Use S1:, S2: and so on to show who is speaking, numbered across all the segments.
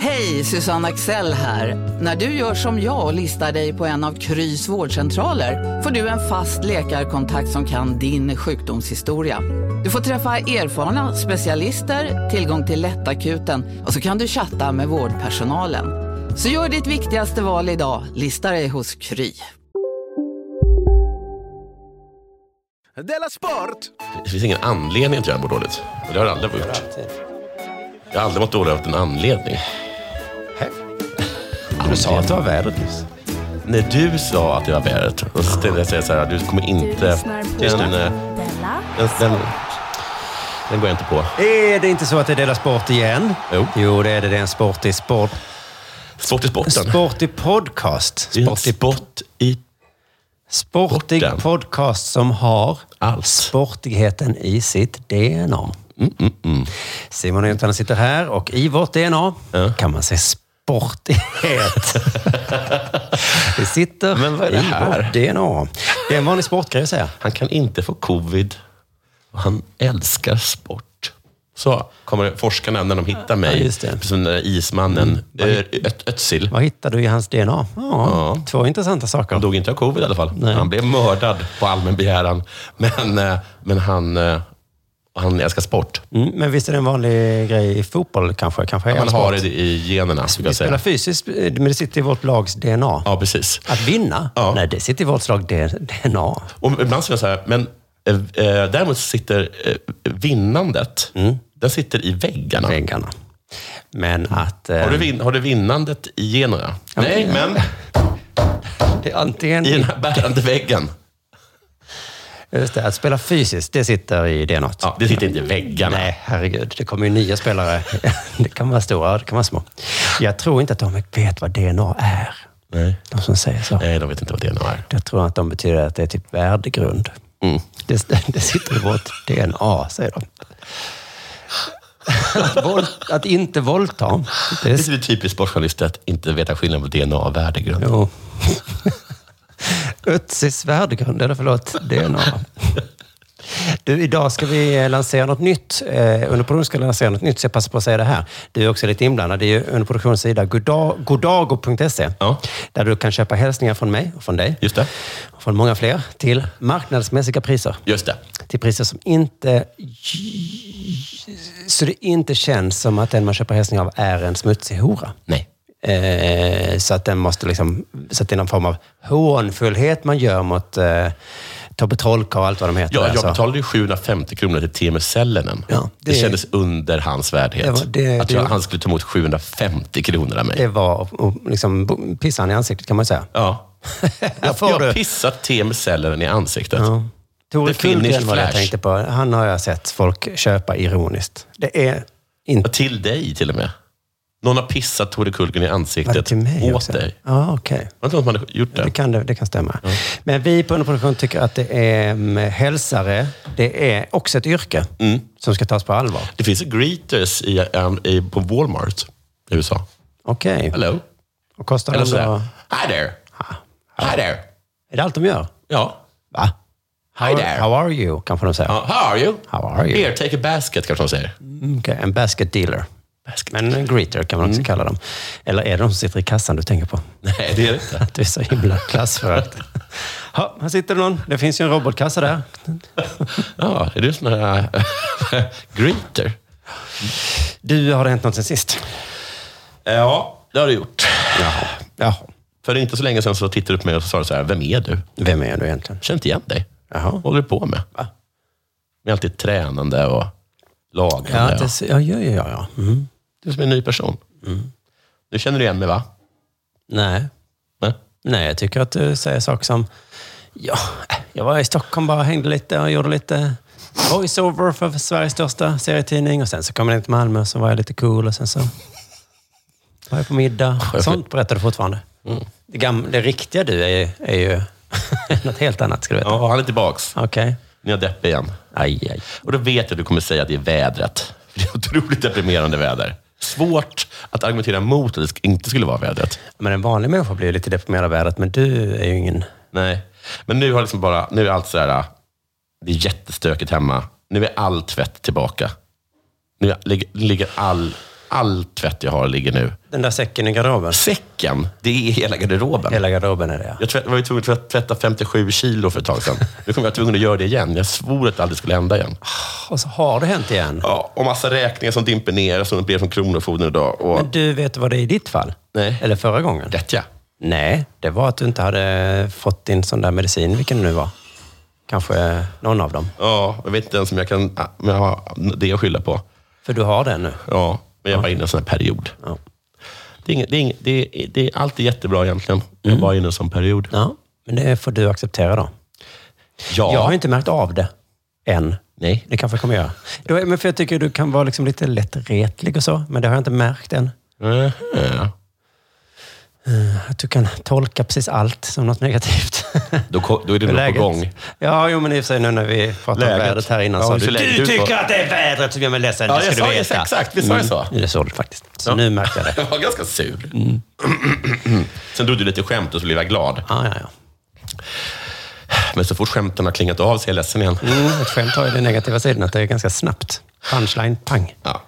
S1: Hej, Susanne Axel här. När du gör som jag och listar dig på en av Krys vårdcentraler får du en fast läkarkontakt som kan din sjukdomshistoria. Du får träffa erfarna specialister, tillgång till lättakuten och så kan du chatta med vårdpersonalen. Så gör ditt viktigaste val idag, listar dig hos Kry.
S2: Della Sport!
S3: Det finns ingen anledning att jag mår dåligt. Det har jag aldrig gjort. Jag har aldrig mått dåligt av en anledning.
S2: Du sa att det var vädret nyss.
S3: När du sa att jag var vädret, då tänkte jag säga så här, du kommer inte... den, eh, den, den, den går jag inte på.
S2: Är det inte så att det är Della Sport igen?
S3: Jo.
S2: det är det. Det är en sportig sport.
S3: Sport i sporten.
S2: Sportig podcast.
S3: Det är en sport i...
S2: sportig
S3: sporten.
S2: podcast som har
S3: Allt.
S2: sportigheten i sitt DNA.
S3: Mm,
S2: Simon och Jonathan sitter här och i vårt DNA kan man se sportighet. det sitter
S3: Men vad är det här?
S2: i vårt DNA. Det är en vanlig sportgrej att säga.
S3: Han kan inte få covid. Och han älskar sport. Så kommer forskarna, när de hittar mig,
S2: Ja, just det. Mm.
S3: som den där ismannen Ö- Ö- Özil.
S2: Vad hittar du i hans DNA? Ja, Två intressanta saker.
S3: Han dog inte av covid i alla fall. Han blev mördad på allmän begäran. Men, eh, men han, eh, han älskar sport.
S2: Mm, men visst är det en vanlig grej i fotboll kanske? kanske är
S3: Han
S2: sport. Alltså,
S3: har det i generna, skulle
S2: Vi
S3: jag säga.
S2: spelar fysiskt, men det sitter i vårt lags DNA.
S3: Ja, precis.
S2: Att vinna?
S3: Ja.
S2: Nej, det sitter i vårt lag DNA.
S3: Och ibland säger jag så här, men eh, eh, däremot sitter eh, vinnandet,
S2: Mm.
S3: den sitter i väggarna.
S2: Väggarna. Men att... eh,
S3: Har du, vin, har du vinnandet i generna? Nej, men
S2: det är antingen...
S3: i den här bärande väggen.
S2: Just det, att spela fysiskt, det sitter i DNA. -t.
S3: Ja, det sitter inte i väggarna.
S2: Nej, herregud. Det kommer ju nya spelare. det kan vara stora, det kan vara små. Jag tror inte att de vet vad DNA är.
S3: Nej. Eh,
S2: De som säger så.
S3: Nej, de vet inte vad DNA är.
S2: Jag tror att de betyder att det är typ värdegrund.
S3: Mm.
S2: Det, det sitter i vårt DNA, säger de. Att, våld, att inte våldta. Det
S3: Det är typiskt sportjournalister att inte veta skillnaden på DNA och värdegrund.
S2: Jo. Ötzis värdegrund, eller förlåt, DNA. Du, idag ska vi eh, lansera något nytt. Eh, under produktion ska vi lansera något nytt, så jag passar på att säga det här. Du är också lite inblandad. Det är ju under produktionens sida goda- godago.se.
S3: Ja.
S2: E. Där du kan köpa hälsningar från mig och från dig.
S3: Just det.
S2: Och från många fler. Till marknadsmässiga priser.
S3: Just det.
S2: Till priser som inte... Så det inte känns som att den man köper hälsningar av är en smutsig hora.
S3: Nej.
S2: Eh, så att den måste liksom, så att det är någon form av hånfullhet man gör mot eh, Tobbe Trollkarl och allt vad de heter.
S3: Ja, jag
S2: Alltså,
S3: betalade ju 750 kronor till Teemu Sellinen.
S2: Ja,
S3: det,
S2: det-
S3: kändes under hans värdighet.
S2: Det var- det-
S3: att jag,
S2: det-
S3: han skulle ta emot 750 kronor av mig.
S2: Det var och, och liksom bo- pissa han i ansiktet kan man säga.
S3: ja.
S2: Här
S3: Jag,
S2: får
S3: jag har
S2: du.
S3: pissat Teemu Sellinen i ansiktet. Ja.
S2: Tore
S3: The Finnish
S2: Kullgren var det jag
S3: Flash.
S2: tänkte på. Han har jag sett folk köpa ironiskt. Det är inte...
S3: Till dig till och med. Någon har pissat Tore Kullgren i
S2: Var det
S3: ansiktet
S2: till mig
S3: åt
S2: också?
S3: dig.
S2: Ja, okej.
S3: Var det inte någon som hade gjort det?
S2: Det kan, det, det kan stämma. Men vi på underproduktion tycker att det är mm, hälsare, det är också ett yrke som ska tas på allvar.
S3: Det finns ju greeters i, um, i, på Walmart i USA.
S2: Okej.
S3: Hello?
S2: Och kostar
S3: Eller
S2: det
S3: sådär.
S2: då?
S3: Hi there. Hi there.
S2: Är det allt de gör?
S3: Ja.
S2: Va?
S3: Hi there.
S2: How are you? Kanske de säger.
S3: Ja, how are you?
S2: How are you?
S3: Here, take a basket, kanske de säger.
S2: Mm, Okej, en basket Mm. dealer. Men en greeter kan man också kalla dem. Eller är det de som sitter i kassan du tänker på?
S3: Nej, det är det inte.
S2: Att du är så himla klassförakt. Ja, här sitter det någon. Det finns ju en robotkassa där.
S3: Ja, är du sån här äh, greeter?
S2: Du, har det hänt något sen sist?
S3: Eh, Ja, det har du gjort.
S2: Jaha. Jaha.
S3: För inte så länge sedan så tittade du på mig och så sa du så här, vem är du? Jag
S2: Vem är du egentligen?
S3: känner inte igen dig.
S2: Jaha.
S3: Vad håller du på med? Va? Jag är alltid tränande och lagande.
S2: Ja,
S3: och-
S2: det, ja, ja, ja. ja. Mm.
S3: Mm. Du är som en ny person. Nu känner du igen mig, va?
S2: Nej.
S3: Nej.
S2: Nej, jag tycker att du säger saker som... Ja, jag var i Stockholm bara hängde lite och gjorde lite voiceover för Sveriges största serietidning. Och sen så kom jag ner till Malmö och så var jag lite cool och sen så var jag på middag. Sånt berättar du fortfarande. Det, gam- det riktiga du är ju, är ju något helt annat, ska du veta.
S3: Ja, han är tillbaks.
S2: Okej.
S3: Nu är jag deppig igen.
S2: Aj, aj.
S3: Och då vet jag att du kommer säga att det är vädret. För Det är otroligt deprimerande väder. Svårt att argumentera mot att det inte skulle vara vädret.
S2: Men en vanlig människa blir ju lite deprimerad av vädret, men du är ju ingen...
S3: Nej. Men nu har liksom bara, nu är allt så här, det är jättestökigt hemma. Nu är all tvätt tillbaka. Nu ligger, ligger all, all tvätt jag har ligger nu.
S2: Den där säcken i garderoben.
S3: Säcken, det är hela garderoben.
S2: Hela garderoben är det, ja.
S3: Jag tvätt, var ju tvungen att tvätta 57 kilo för ett tag sedan. Nu kommer jag vara tvungen att göra det igen. Jag svor att det aldrig skulle hända igen.
S2: Och så har det hänt igen.
S3: Ja, och massa räkningar som dimper ner, som det blev från Kronofogden idag. Och...
S2: Men du vet vad det är i ditt fall?
S3: Nej.
S2: Eller förra gången?
S3: Rätt ja.
S2: Nej, det var att du inte hade fått din sån där medicin, vilken det nu var. Kanske någon av dem.
S3: Ja, jag vet inte ens om jag kan, om jag har det att skylla på.
S2: För du har den nu.
S3: Ja, men jag var inne i en sån här period.
S2: Ja.
S3: Det är inget, det är inget, det är, det är, allt är jättebra egentligen.
S2: Mm.
S3: Jag var inne i en sån period.
S2: ja. Men det får du acceptera då. Jag har ju inte märkt av det än.
S3: Nej.
S2: Det kanske jag kommer göra. Då, är- men för jag tycker du kan vara liksom lite lätt retlig och så, men det har jag inte märkt än.
S3: Mhm.
S2: Att du kan tolka precis allt som något negativt.
S3: Då, ko- då är det nog
S2: Läget.
S3: på gång.
S2: Ja, jo, men i och för sig nu när vi pratade om
S3: Läget.
S2: vädret här innan
S3: Ja,
S2: sa
S3: hur
S2: du,
S3: ser läget
S2: du
S3: ut,
S2: tycker
S3: va?"
S2: att det är vädret som gör mig ledsen,
S3: Ja,
S2: det
S3: jag
S2: ska
S3: sa
S2: du
S3: det.
S2: veta.
S3: Exakt, visst sa jag så?
S2: Mm, det såg du faktiskt. Så nu märkte jag det.
S3: Jag var ganska sur.
S2: Mm.
S3: Sen drog du lite skämt och så blev jag glad.
S2: Ah, Ja, ja, ja.
S3: Men så fort skämten har klingat av så är jag ledsen igen.
S2: Mm, ett skämt har ju den negativa sidan, att det är ganska snabbt. Punchline, pang.
S3: Ja.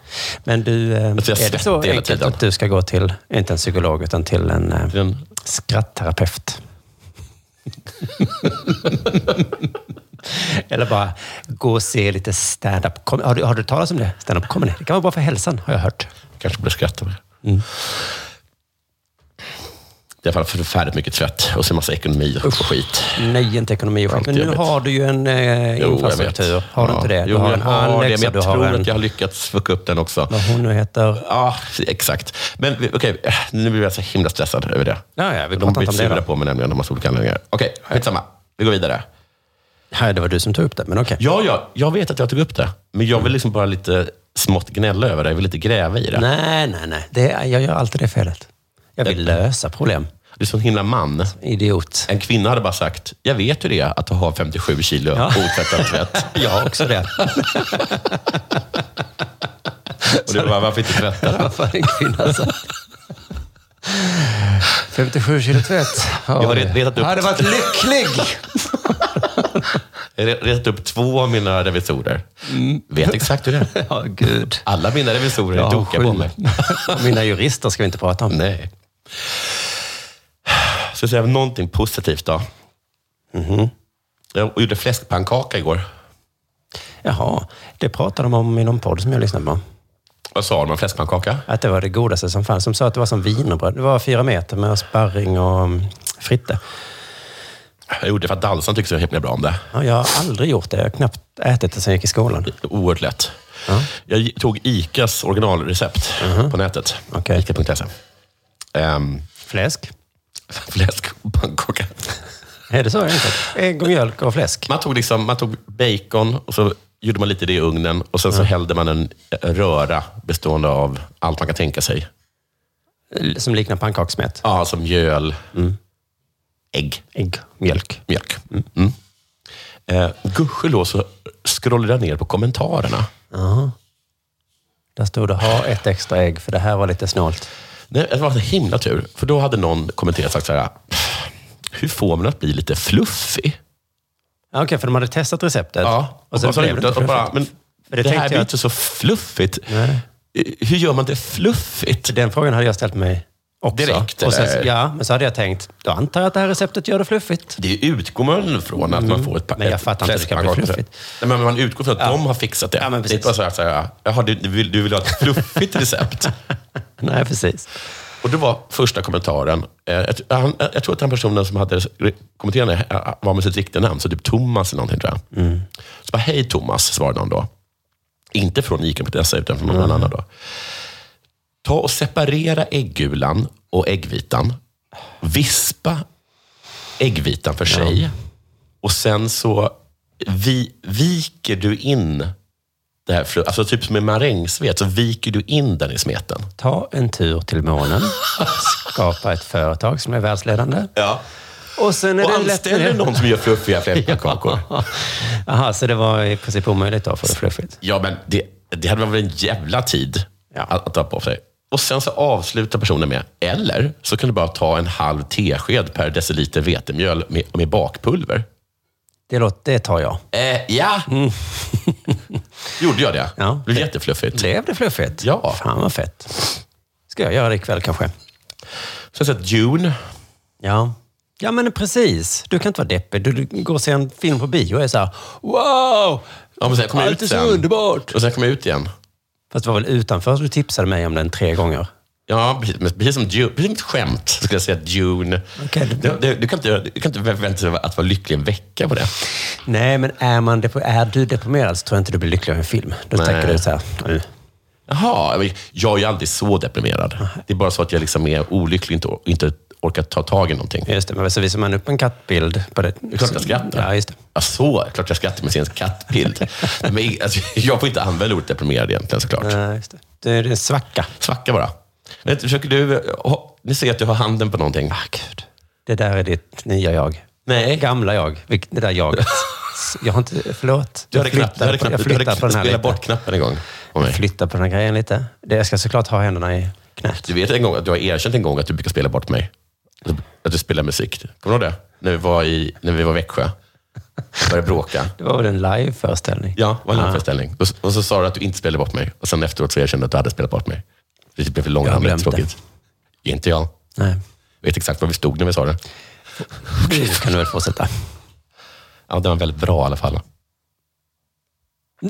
S2: Men du, eh,
S3: Alltså, jag
S2: är det
S3: svettig
S2: så
S3: hela
S2: enkelt
S3: tiden.
S2: att du ska gå till, inte en psykolog, utan till en eh,
S3: Den,
S2: skrattterapeut? Eller bara gå och se lite stand-up. com- Har du, har du talat om det? Stand-up comedy. Det kan vara bra för hälsan, har jag hört. Mm.
S3: kanske borde skratta mer. Det är i alla fall förfärligt mycket tvätt och så massa ekonomi och skit.
S2: Nej, inte ekonomi och skit.
S3: Alltid
S2: Men nu
S3: jobbigt.
S2: har du ju en eh,
S3: Jo, jag
S2: infrastruktur.
S3: vet.
S2: Har du
S3: Ja.
S2: inte det? Du
S3: Jo,
S2: har
S3: jag
S2: en
S3: har det,
S2: Alex
S3: men
S2: och
S3: jag
S2: du har
S3: tror
S2: en...
S3: att jag har lyckats fucka upp den också.
S2: Vad hon nu heter.
S3: Ja, exakt. Men vi- okej, nu blir jag så himla stressad över det.
S2: Ja, ja, vi
S3: De
S2: pratar
S3: blir
S2: inte om det.
S3: sura
S2: då.
S3: på mig nämligen, de har olika anledningar. Okej, skitsamma. Vi går vidare.
S2: Nej, det var du som tog upp det, men okej.
S3: Ja, ja, jag vet att jag tog upp det. Men jag vill liksom bara lite smått gnälla över det. Jag vill lite gräva i det.
S2: Nej, nej, nej. Det, är- jag gör alltid det felet. Jag vill lösa problem.
S3: Du är sån himla man.
S2: Idiot.
S3: En kvinna hade bara sagt, jag vet hur det är att ha 57 kilo
S2: Ja.
S3: otvättad tvätt.
S2: Jag har också det.
S3: Och du bara, varför inte tvätta den?
S2: Varför en kvinna så? 57 kilo tvätt. Ja,
S3: Jag har ret- retat upp-
S2: hade varit lycklig.
S3: Jag har retat upp två av mina revisorer. Vet exakt hur det är.
S2: Mm. Ja, gud.
S3: Alla mina revisorer är tokiga på mig.
S2: Mina jurister ska vi inte prata om.
S3: Nej. Ska jag säga någonting positivt då? Jag gjorde fläskpannkaka igår.
S2: Jaha, det pratade de om i någon podd som jag lyssnade på.
S3: Vad sa de om fläskpannkaka?
S2: Att det var det godaste som fanns. De sa att det var som wienerbröd. Det var fyra meter med sparring och mm, fritte.
S3: Jag gjorde det för att dansaren tyckte så himla bra om det.
S2: Ja, jag har aldrig gjort det. Jag har knappt ätit det sen jag gick i skolan.
S3: Oerhört lätt. Jag gi- tog ICAs originalrecept på nätet.
S2: Okej.
S3: Ica.se. Um,
S2: Fläsk?
S3: fläskpannkaka.
S2: Är det så enkelt? Ägg och mjölk och fläsk?
S3: Man tog, liksom, man tog bacon och så gjorde man lite det i ugnen och sen så hällde man en röra bestående av allt man kan tänka sig.
S2: Som liknar pannkakssmet?
S3: Ja, som mjöl, ägg,
S2: Mm. Ägg, mjölk.
S3: mjölk. Mm. Eh, Gudskelov så scrollade jag ner på kommentarerna.
S2: Där stod det ha ett extra ägg för det här var lite snålt.
S3: Nej, Det var så himla tur, för då hade någon kommenterat och sagt så här, hur får man att bli lite fluffig?
S2: Ja, Okej, för de hade testat receptet.
S3: och
S2: Och sen
S3: så
S2: blev det
S3: gjorde
S2: inte
S3: jag bara,
S2: perfekt.
S3: men
S2: För
S3: det,
S2: tänkte
S3: här
S2: jag
S3: blir
S2: att-
S3: inte så fluffigt.
S2: Nej.
S3: Eh, Hur gör man det fluffigt?
S2: Den frågan hade jag ställt mig också.
S3: Direkt,
S2: och sen,
S3: eller?
S2: Ja, men så hade jag tänkt, då antar jag att det här receptet gör det fluffigt.
S3: Det utgår man från att man får ett par,
S2: Mm. Men jag
S3: ett
S2: fattar inte hur det kan bli
S3: fläskpannkaka.
S2: fluffigt.
S3: Nej, men man utgår från att de har fixat det.
S2: Ja, men
S3: det är inte bara
S2: precis.
S3: så här, så här jaha, du, du, vill, du vill ha ett fluffigt recept.
S2: Nej, precis.
S3: Och det var första kommentaren. Eh, jag, tr- han, jag tror att den personen som hade re- kommenterat det eh, var med sitt riktiga namn, så typ Thomas eller någonting tror jag. Så bara, hej Thomas, svarade någon då. Inte från ICA.se, utan från någon annan då. Ta och separera äggulan och äggvitan. Vispa äggvitan för sig. Och sen så vi, viker du in det här flö- alltså typ som en marängsvet, så viker du in den i smeten.
S2: Ta en tur till månen. Skapa ett företag som är världsledande.
S3: Ja.
S2: Och sen är
S3: Och
S2: det lätt med
S3: anställer
S2: det.
S3: någon som gör fluffiga flämmarkakor.
S2: Jaha, så det var i princip omöjligt då för det fluffigt.
S3: Ja, men det, det hade väl en jävla tid
S2: Ja.
S3: att, att ta på sig. Och sen så avslutar personen med, eller så kan du bara ta en halv tesked per deciliter vetemjöl med, med bakpulver.
S2: Det, låter, det tar jag.
S3: Eh, ja. Gjorde jag det?
S2: Ja.
S3: Det blev jättefluffigt.
S2: Blev det fluffigt?
S3: Ja.
S2: Fan vad fett. Ska jag göra det ikväll kanske?
S3: Sen så att Dune.
S2: Ja. Ja men precis. Du kan inte vara deppig. Du, du går och ser en film på bio och är så här, wow!
S3: Ja, men sen kom jag
S2: Allt
S3: ut
S2: är så
S3: sen.
S2: underbart!
S3: Och sen kom jag ut igen.
S2: Fast det var väl utanför du tipsade mig om den tre gånger?
S3: Ja, precis, men precis som Dune, precis som ett skämt skulle jag säga att Dune.
S2: Okej.
S3: Du, du, du, kan inte, du kan inte förvänta dig att vara lycklig en vecka på det.
S2: Nej, men är, man depo- är du deprimerad så tror jag inte du blir lycklig av en film. Då
S3: Nej.
S2: tänker du så här, "Mm." nu.
S3: Jaha, men jag är ju aldrig så deprimerad. Det är bara så att jag liksom är olycklig och inte, or- inte orkar ta tag i någonting.
S2: Just det, men så visar man upp en kattbild på det.
S3: är klart jag skrattar.
S2: Ja, just det.
S3: Ja, så, klart jag skrattar med sin kattbild. men, alltså, jag får inte använda ordet deprimerad egentligen såklart.
S2: Nej, just det. det är en svacka.
S3: Svacka bara. Men Försöker du... eh, ha- Ni ser att du har handen på någonting.
S2: Ah, gud. Det där är ditt nya jag.
S3: Nej.
S2: Gamla jag. Vilk- Det där jaget. Jag har inte... Förlåt.
S3: Du hade knappt... Du hade
S2: på-
S3: knappt... Du hade
S2: jag flyttar på den här
S3: spelat
S2: lite.
S3: bort knappen en gång. på mig.
S2: Jag flyttar på den här grejen lite. Det- Jag ska såklart ha händerna i knät.
S3: Du vet en gång att du har erkänt en gång att du brukar spela bort mig. Att du spelar musik. Kommer du ihåg det? När vi var i när vi var i Växjö. Började bråka.
S2: Det var väl en live-föreställning?
S3: Ja, det var en föreställning. Och, och så sa du att du inte spelade bort mig. Och sen efteråt så erkände du att du hade spelat bort mig. Det blev för
S2: Jag har
S3: långrandigt
S2: glömt
S3: tråkigt. Inte jag.
S2: Nej.
S3: Vet exakt var vi stod när vi sa det.
S2: Nu kan du väl fortsätta.
S3: Ja, det var väldigt bra i alla fall.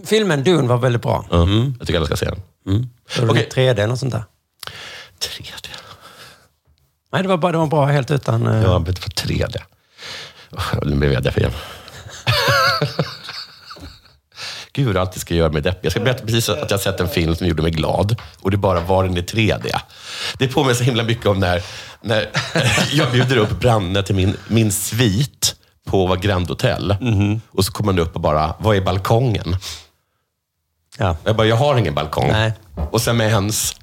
S2: Filmen Dune var väldigt bra.
S3: Mm. Jag tycker alla ska se den. Mm. Okej.
S2: Okej. 3D eller något sånt där.
S3: Tredje.
S2: Nej, det var, bara, det var bra helt utan... eh,
S3: Ja, men det var tredje. Åh, Nu blev jag deppig igen. Gud, vad jag alltid ska göra mig deppig. Jag ska berätta precis att jag sett en film som gjorde mig glad och det bara var den i 3D. Det påminner så himla mycket om när, när jag bjuder upp Branne till min, min svit på Grand Hotel.
S2: Mhm.
S3: Och så kommer han upp och bara, vad är balkongen?
S2: Ja,
S3: Jag bara, jag har ingen balkong.
S2: Nej.
S3: Och sen med hens,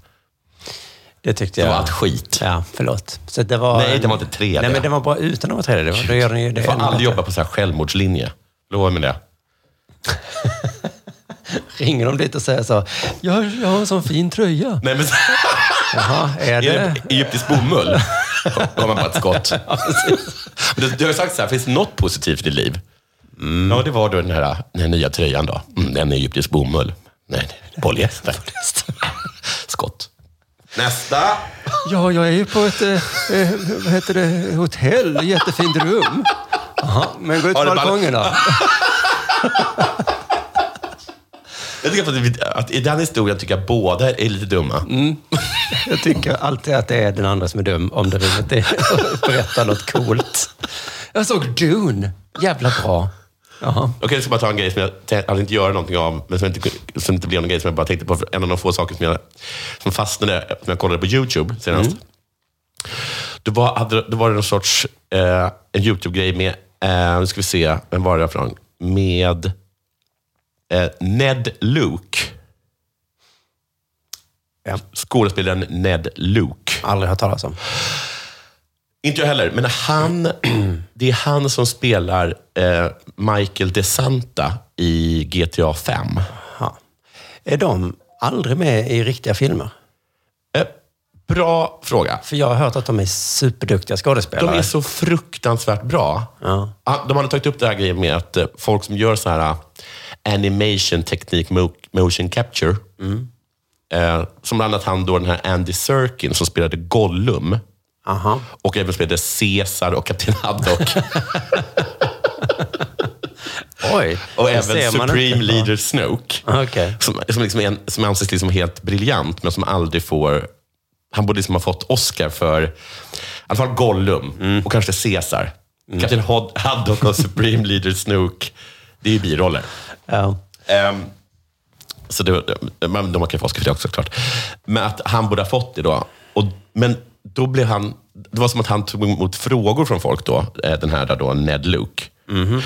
S2: det tyckte
S3: det
S2: jag.
S3: var allt skit.
S2: Ja, förlåt. Så det var,
S3: Nej, det var inte 3D.
S2: Nej, men det var bra utan att vara 3D. Det var, då gör den ju det.
S3: Jag får
S2: ännu
S3: aldrig
S2: bättre.
S3: jobba på så här självmordslinje. Lovar mig det.
S2: Ringer de dit och säger så. Jag, jag har en sån fin tröja.
S3: Nej, men...
S2: Jaha, är
S3: Är det
S2: det...
S3: egyptisk bomull? Då har man bara ett skott. Men du, du har ju sagt så här, finns det något positivt i ditt liv? Ja, det var då den här, den här nya tröjan då. Mm, den är egyptisk bomull. Nej, nej, polyester. skott. Nästa!
S2: Ja, jag är ju på ett, eh, eh, vad heter det, hotell. Jättefint rum. Jaha, men gå ut
S3: Har
S2: på
S3: det ball-
S2: balkongen då.
S3: Jag tycker att, vi, att i den historien tycker jag båda är lite dumma.
S2: Jag tycker alltid att det är den andra som är dum om det rummet är berättar något coolt. Jag såg Dune. Jävla bra. Jaha.
S3: Okej, jag ska bara ta en grej som jag tän- hade inte göra någonting av, men som inte, kun- som inte blev någon grej som jag bara tänkte på. för En av de få saker som, jag, som fastnade när jag kollade på YouTube senast. Då, var, hade, då var det någon sorts eh, en YouTube-grej med, eh, nu ska vi se, vem var det från? Med eh, Ned Luke.
S2: Ja.
S3: Skådespelaren Ned Luke.
S2: Aldrig hört talas om.
S3: Inte jag heller, men han, det är han som spelar eh, Michael DeSanta i GTA 5.
S2: Jaha. Är de aldrig med i riktiga filmer?
S3: Eh, Bra fråga.
S2: För jag har hört att de är superduktiga
S3: De
S2: skådespelare.
S3: är så fruktansvärt bra.
S2: Ja.
S3: Ah, De hade tagit upp det här grejen med att eh, folk som gör så här ah, animation teknik mo- motion capture. Eh, som bland annat han då, den här Andy Serkin som spelade Gollum.
S2: Aha.
S3: Och även spelade Caesar och Kapten Haddock.
S2: Oj.
S3: och
S2: det
S3: även
S2: ser man
S3: Supreme
S2: inte.
S3: Leader Snoke.
S2: Ja. Okej.
S3: Som, som, liksom är en, som anses liksom helt briljant, men som aldrig får... Han borde liksom ha fått Oscar för i alla fall Gollum
S2: Mm.
S3: och kanske Caesar. Kapten Hod- Haddock och Supreme Leader Snoke. Det är ju biroller.
S2: Ja.
S3: Ehm, så det, men de kan ju få Oscar för det också såklart. Men att han borde ha fått det då. Och, men då blev han det var som att han tog emot frågor från folk då, eh, den här då, Ned Luke.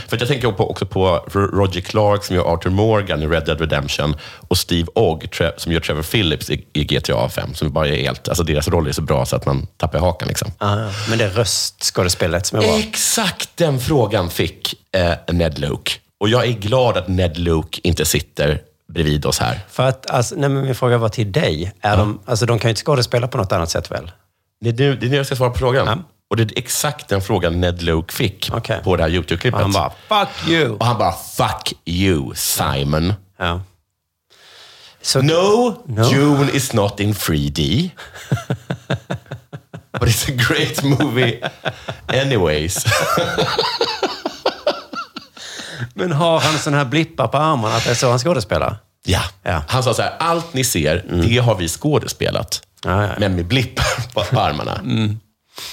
S3: För att jag tänker på, också på Roger Clark som gör Arthur Morgan i Red Dead Redemption och Steve Ogg tre, som gör Trevor Phillips i, i GTA 5. Som bara är helt, alltså deras roller är så bra så att man tappar hakan. Liksom.
S2: Ah, men det är röstskådespelet som är
S3: Eh.
S2: bra.
S3: Exakt den frågan fick eh, Ned Luke. Och jag är glad att Ned Luke inte sitter bredvid oss här.
S2: För att, alltså, nej, men min fråga var till dig. Är de, alltså, de kan ju inte skådespela på något annat sätt väl?
S3: Det är nu, det är nu jag ska svara på frågan.
S2: Ja.
S3: Och det är exakt den frågan Ned Luke fick
S2: Okej.
S3: på det här YouTube-klippet.
S2: Typ Han bara, fuck you!
S3: Och han bara, fuck you Simon.
S2: Ja. Så,
S3: No,
S2: No.
S3: June is not in 3D. But it's a great movie anyways.
S2: Men har han sån här blippar på armarna att det är så han skådespelar?
S3: ja.
S2: Ja. Mm.
S3: Han sa så här, allt ni ser, det har vi skådespelat.
S2: Ja, Mm. ja, ja.
S3: Men med blippar på på armarna.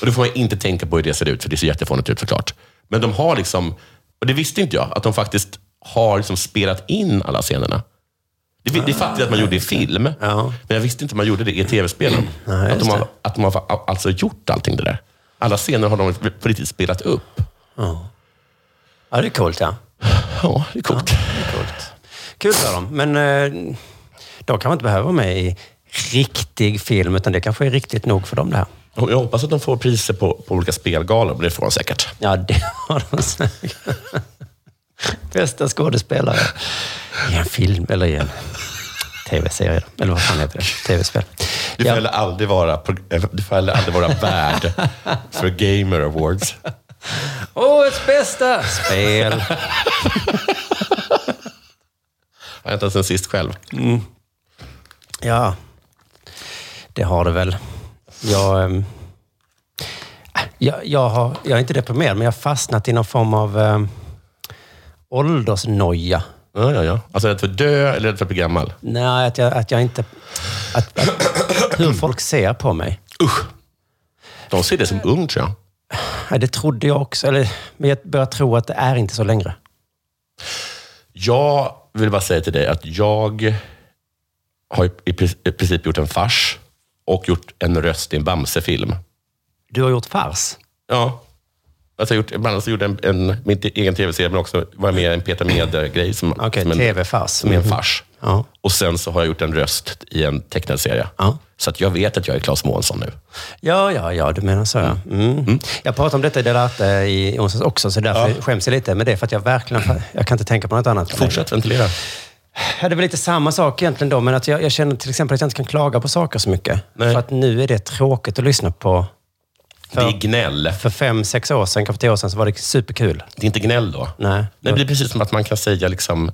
S3: Och då får man inte tänka på hur det ser ut, för det ser jättefånigt ut såklart. Men de har liksom, och det visste inte jag, att de faktiskt har liksom spelat in alla scenerna. Det, vi- det fattade jag att man gjorde i film,
S2: Ah, Ja.
S3: men jag visste inte att man gjorde det i tv-spelen.
S2: Nej,
S3: att, de
S2: just
S3: har,
S2: det.
S3: att de har alltså gjort allting det där. Alla scener har de på riktigt spelat upp.
S2: Ja, det är coolt ja.
S3: Ja, det är coolt.
S2: Coolt. Kul för dem, men eh, de kan man inte behöva vara med i riktig film, utan det kanske är riktigt nog för dem det här.
S3: Och Jag hoppas att de får priser på, på olika spelgalor, men det får de säkert.
S2: Ja, det har de säkert. Bästa skådespelare i en film eller i en tv-serie. då. Eller vad fan heter det? Tv-spel.
S3: Du får
S2: Ja,
S3: heller aldrig vara, pro- eh, du får heller aldrig vara värd för Gamer Awards.
S2: Årets bästa spel.
S3: Jag har inte ens sen sist själv.
S2: Ja, det har det väl. Jag, ehm, äh, jag, jag, har, jag är inte deprimerad, men jag har fastnat i någon form av um, åldersnoja.
S3: Ja, ja, ja. Alltså rädd för att dö eller rädd för att bli gammal?
S2: Nej, att jag, att jag inte... Att, att, hur folk ser på mig.
S3: Usch! De ser det som ung, tror jag.
S2: Ja, det trodde jag också, eller, men jag börjar tro att det är inte så längre.
S3: Jag vill bara säga till dig att jag har i- i pri- i princip gjort en fars och gjort en röst i en Bamse-film.
S2: Du har gjort fars.
S3: Ja. Alltså jag gjort, bland annat så gjorde jag en, en, min te- egen tv-serie, men också var jag med i en Peter Mede-grej som,
S2: Okej,
S3: som, en-
S2: tv-fars. Mm.
S3: som är en fars.
S2: Ja.
S3: Och sen så har jag gjort en röst i en tecknad serie.
S2: Ja.
S3: Så att jag vet att jag är Claes Månsson nu.
S2: Ja, ja, ja, du menar så. Ja. Mm. Jag pratade om detta i Delarte i onsdags också, så därför skäms jag lite. Men det är för att jag verkligen... Jag kan inte tänka på något annat.
S3: Fortsätt ventilera.
S2: Ja, det är väl lite samma sak egentligen då, men att jag, jag känner till exempel att jag inte kan klaga på saker så mycket.
S3: Nej.
S2: För att nu är det tråkigt att lyssna på.
S3: Det är gnäll.
S2: För fem, sex år sedan, kanske tio år sedan, så var det superkul.
S3: Det är inte gnäll då.
S2: Nej.
S3: Det blir precis som att man kan säga liksom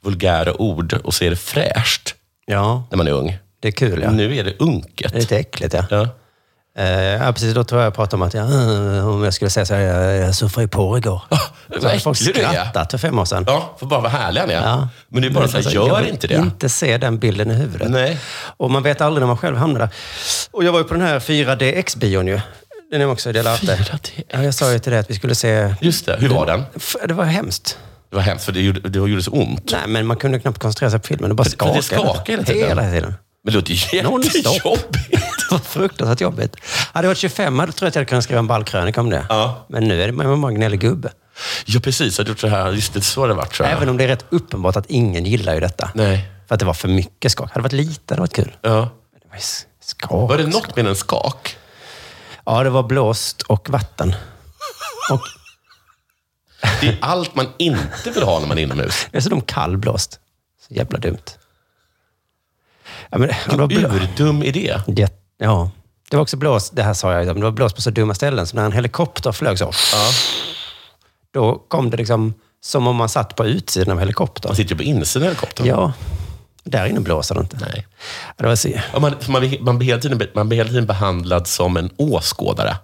S3: vulgära ord och så är det fräscht
S2: Ja,
S3: när man är ung.
S2: det är kul ja.
S3: Nu är det unket.
S2: Det är lite äckligt ja.
S3: Ja.
S2: Eh, ja, precis. Då tror jag jag pratade om att jag, eh, om jag skulle säga så här, jag, jag surfade i porr igår.
S3: Ah, vad
S2: så hade folk
S3: äcklig du är.
S2: skrattat för fem år sedan.
S3: ja, för bara vad härliga ni är.
S2: Ja.
S3: Men det är bara så här,
S2: Alltså,
S3: gör
S2: jag vill
S3: inte det.
S2: inte se den bilden i huvudet.
S3: Nej.
S2: Och man vet aldrig när man själv hamnar där. Och jag var ju på den här 4DX-bion ju. Den är också i Delarte.
S3: 4DX.
S2: Ja, jag sa ju till dig att vi skulle se...
S3: Just det, hur var den?
S2: F- Det var hemskt.
S3: Det var hemskt, för det gjorde, det gjorde så ont.
S2: Nej, men man kunde knappt koncentrera sig på filmen. Det bara
S3: För- för
S2: skakade.
S3: det skakar hela tiden.
S2: Hela tiden.
S3: Men det låter ju
S2: Nonstop.
S3: jättejobbigt.
S2: Det var fruktansvärt jobbigt. Hade jag varit 25 hade jag tror jag att jag hade kunnat skriva en ball krönika om det.
S3: Ja.
S2: Men nu är det man bara en gnällig gubbe.
S3: Ja, precis. Jag har gjort så här. Just det, så har det varit tror jag.
S2: Även om det är rätt uppenbart att ingen gillar ju detta.
S3: Nej.
S2: För att det var för mycket skak. Hade det varit lite hade det varit kul.
S3: Ja.
S2: Men det var ju s- skak.
S3: Var det något med en skak?
S2: Ja, det var blåst och vatten. Och
S3: Det är allt man inte vill ha när man är inomhus.
S2: dessutom kall blåst. Så jävla dumt. Ja, men, det var blå-
S3: Hur dum idé?
S2: det, ja. det var också blåst, det här sa jag, ju, men det var blåst på så dumma ställen. Så när en helikopter flög så, då kom det liksom som om man satt på utsidan av
S3: Man
S2: helikoptern.
S3: sitter ju på insidan av helikoptern.
S2: Ja, där inne blåser det inte.
S3: Nej.
S2: Ja, Det var så,
S3: Ja, Man, man, blir- man, blir hela tiden, man blir hela tiden behandlad som en åskådare.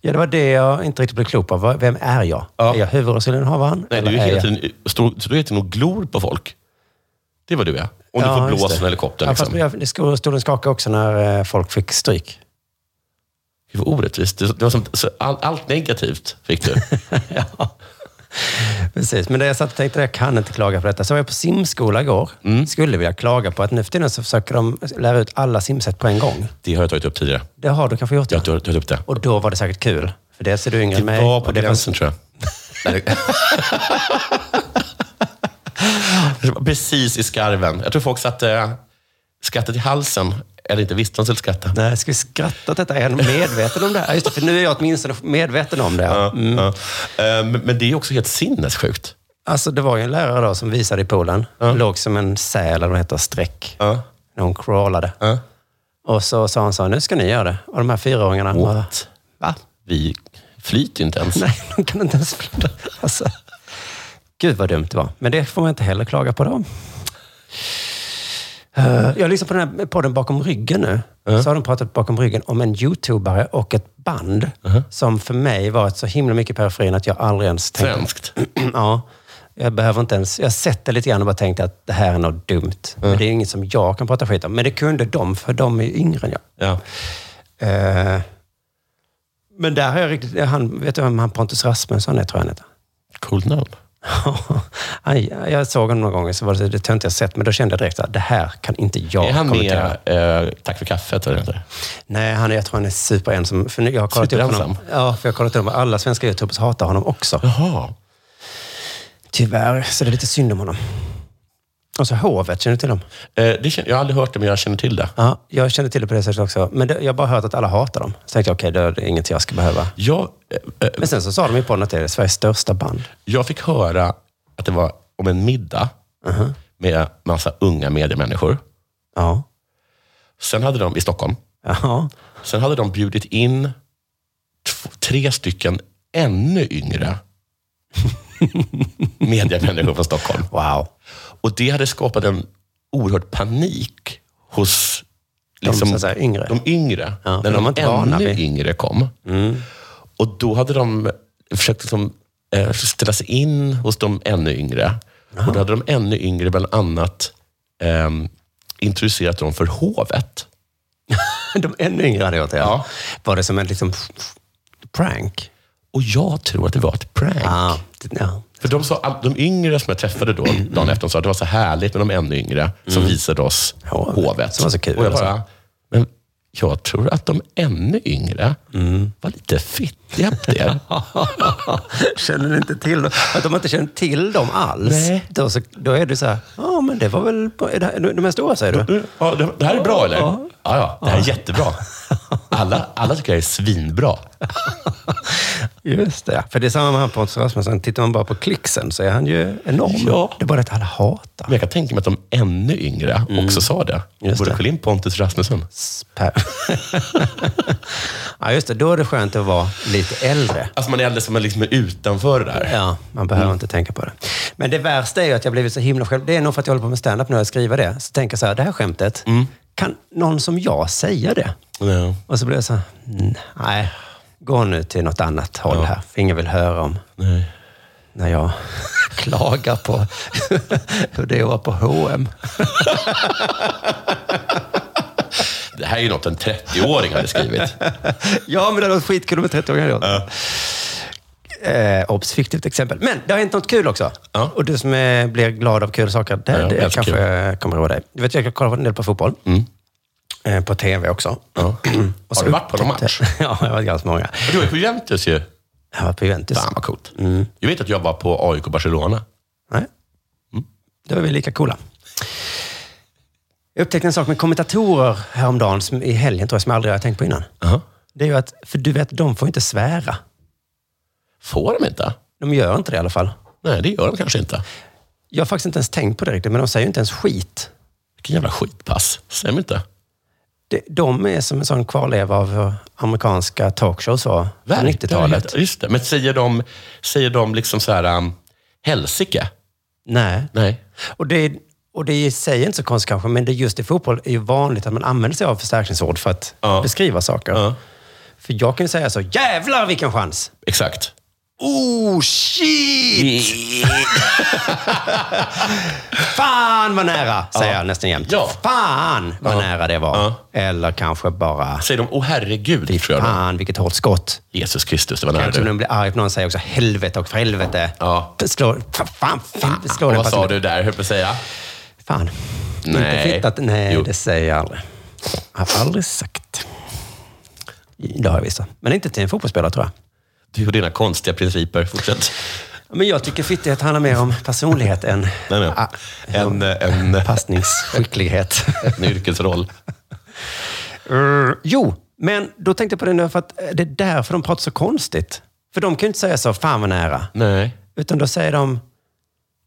S2: ja, det var det jag inte riktigt blev klok på. Vad- Vem är jag?
S3: Ja.
S2: Är jag huvudrollsinnehavaren?
S3: Nej, du är
S2: Eller
S3: hela
S2: jag-
S3: tiden, står, så du är hela tiden och glor på folk. Det är vad du är. Om
S2: Ja,
S3: du får
S2: just
S3: blås
S2: det.
S3: från helikoptern.
S2: Ja, fast
S3: Liksom.
S2: jag, det stod, stod en skaka också när eh, folk fick stryk.
S3: Det var orättvist. Det, det var som, så all, allt negativt fick du.
S2: Precis. precis. Men det jag satt och tänkte, jag kan inte klaga på detta. Så var jag på simskola igår.
S3: Mm.
S2: Skulle vilja klaga på att nu för tiden så försöker de lära ut alla simsätt på en gång.
S3: Det har jag tagit upp tidigare.
S2: Det har du kanske gjort?
S3: Jag har tagit tagit upp det.
S2: Och då var det säkert kul. För dels är du yngre
S3: Det
S2: än mig.
S3: var Typ på
S2: och det
S3: gränsen, tror jag. Det var Precis i skarven. Jag tror folk satte eh, skrattet i halsen, eller inte visste de skulle skratta.
S2: Nej, ska vi skratta åt detta? Är han medveten om det här? Ja, Just det, för nu är jag åtminstone medveten om det.
S3: Ja, ja. Eh, Men men det är också helt sinnessjukt.
S2: Alltså, det var ju en lärare då som visade i poolen. Låg som en säl, eller vad heter streck.
S3: Ja.
S2: När hon crawlade. Och så sa han så här, nu ska ni göra det. Och de här fyraåringarna bara,
S3: What?
S2: va?
S3: Vi flyter inte ens.
S2: Nej, de kan inte ens flytta. Alltså, gud vad dumt det var. Men det får man inte heller klaga på då. Eh, Jag lyssnar på den här podden Bakom ryggen nu. Så har de pratat bakom ryggen om en youtubare och ett band som för mig varit så himla mycket i periferin att jag aldrig ens tänkte...
S3: Svenskt.
S2: ja. Jag behöver inte ens... Jag har sett det lite grann och bara tänkt att det här är något dumt. Men det är inget som jag kan prata skit om. Men det kunde de, för de är ju yngre än jag.
S3: Ja.
S2: Eh, men där har jag riktigt... Han, vet du vem han Pontus Rasmusson är, tror jag han heter?
S3: Coolt namn.
S2: Aj, jag såg honom någon gång, så var det det töntiga sätt, men då kände jag direkt att det här kan inte jag
S3: är han
S2: kommentera.
S3: med eh, Tack för kaffet? Eller inte?
S2: Nej, han, är- jag tror han är superensam. För nu- jag har kollat upp honom.
S3: Superensam?
S2: Ja, för jag har kollat upp Alla svenska youtubers hatar honom också.
S3: Jaha.
S2: Tyvärr, så det är lite synd om honom. Och så hovet, känner du till dem?
S3: Eh, det känner, jag har aldrig hört det, men jag känner till det.
S2: Ja, jag känner till det på det sättet också. Men det, jag har bara hört att alla hatar dem. Så tänkte jag, okej, det är inget jag ska behöva.
S3: Jag, eh, eh,
S2: Men sen så sa de i podden att det är Sveriges största band.
S3: jag fick höra att det var om en middag med massa unga mediemänniskor.
S2: Ja.
S3: Sen hade de, i Stockholm,
S2: Ja.
S3: sen hade de bjudit in tv- tre stycken ännu yngre mediemänniskor från Stockholm.
S2: Wow.
S3: Och det hade skapat en oerhörd panik hos liksom
S2: så att säga, yngre.
S3: de yngre.
S2: Ja, för
S3: när
S2: de
S3: de,
S2: var inte vana
S3: ännu
S2: vid- Mm.
S3: yngre kom. Och då hade de försökt liksom, eh, ställa sig in hos de ännu yngre. Och då hade de ännu yngre bland annat ehm, introducerat dem för hovet.
S2: De ännu yngre hade gjort det, ja. Var det som en liksom prank?
S3: Och jag tror att det var ett prank.
S2: Ja. ja.
S3: För de, sa, all- de yngre som jag träffade då,
S2: Mm.
S3: dagen efter, de sa att det var så härligt med de ännu yngre som visade oss
S2: Hovet.
S3: hovet.
S2: Mm. Som var så kul
S3: Och jag
S2: alltså.
S3: bara, men jag tror att de ännu yngre
S2: Mm.
S3: var lite fittiga på det.
S2: Känner ni inte till dem? Att de inte känner till dem alls.
S3: Nej.
S2: Då, så, då är det så här, ja men det var väl... är det här- De är stora säger du?
S3: Ja, det, det här är bra eller? Ja, ja. Det här är jättebra. Alla, alla tycker jag är svinbra.
S2: Just det. ja. För det är samma med han Pontus Rasmusson. Tittar man bara på klicksen så är han ju enorm.
S3: Ja.
S2: Det är bara det att alla hatar.
S3: Men jag kan tänka mig att de ännu yngre också sa det.
S2: Mm. Just
S3: Borde
S2: det.
S3: kolla in Pontus Rasmusson.
S2: Per. ja, just det. Då är det skönt att vara lite äldre.
S3: Alltså man är äldre som man liksom är utanför det där.
S2: Ja, man behöver
S3: Mm.
S2: inte tänka på det. Men det värsta är ju att jag blivit så himla själv... Det är nog för att jag håller på med stand-up nu och jag skriver det. Så tänker jag så här, det här skämtet, kan någon som jag säga det?
S3: Mm. Ja.
S2: Och så blir jag så här, "Mm, nej, gå nu till något annat håll här. För ingen vill höra om
S3: Nej.
S2: när jag klagar på hur det var på H&M.
S3: Det här är ju något en 30-åring hade skrivit.
S2: Ja, men det hade varit skitkul om en 30-åring hade gjort det. Eh, obs, fiktivt exempel. Men det har hänt något kul också.
S3: Ja.
S2: Och du som är, blir glad av kul saker, det,
S3: Ja,
S2: det
S3: älskar
S2: kanske
S3: kul.
S2: jag kommer ihåg dig. Du vet, jag kollar en del på fotboll. Eh, på tv också.
S3: Mm. Ja.
S2: Och
S3: Har du varit på någon
S2: upptäckte-
S3: match?
S2: ja, jag har varit ganska många.
S3: Du är på Juventus ju.
S2: Jag var på Juventus.
S3: Fan vad coolt. Mm. Jag vet att jag var på AIK Barcelona.
S2: Nej.
S3: Mm.
S2: Då är vi lika coola. Jag upptäckte en sak med kommentatorer häromdagen, som, i helgen tror jag, som jag aldrig har tänkt på innan. Det är ju att, för du vet, de får inte svära.
S3: Får de inte?
S2: De gör inte det i alla fall.
S3: Nej, det gör de kanske inte.
S2: Jag har faktiskt inte ens tänkt på det riktigt, men de säger ju inte ens skit.
S3: Vilken jävla skitpass. Stämmer inte.
S2: Det- De är som en sån kvarleva av hur amerikanska talkshows var på 90-talet.
S3: Just det. Men säger de, säger de liksom så här, um, helsike?
S2: Nej.
S3: Nej.
S2: Och det, och det i sig är inte så konstigt kanske, men det just i fotboll är ju vanligt att man använder sig av förstärkningsord för att
S3: Ja.
S2: beskriva saker.
S3: Ja.
S2: För jag kan ju säga så, jävlar vilken chans!
S3: Exakt.
S2: Oh shit! Fan vad nära, säger jag nästan jämt.
S3: Ja.
S2: Fan vad
S3: Ja.
S2: nära det var.
S3: Ja.
S2: Eller kanske bara,
S3: Säger de, åh herregud, tror jag. då.
S2: fan vilket hårt skott.
S3: Jesus Kristus, det var nära
S2: Kanske om
S3: du.
S2: de blir arg på någon säger också helvete och för helvete.
S3: Ja.
S2: Slå, fan, fan, fan, slå
S3: Och
S2: den
S3: vad
S2: passen.
S3: sa du där, höll på att säga?
S2: Fan.
S3: Nej.
S2: Inte fittat. Nej,
S3: Jo.
S2: det säger jag aldrig. Jag har aldrig sagt. Det har jag visst. Men inte till en fotbollsspelare tror jag.
S3: Du och dina konstiga principer, fortsätt.
S2: Men jag tycker fittighet handlar mer om personlighet än
S3: Nej, nej.
S2: Ah,
S3: En, en,
S2: passningsskicklighet.
S3: en yrkesroll.
S2: Urr. jo, men då tänkte jag på det nu för att eh, det är därför de pratar så konstigt. För de kan ju inte säga så, fan vad nära.
S3: Nej.
S2: Utan då säger de,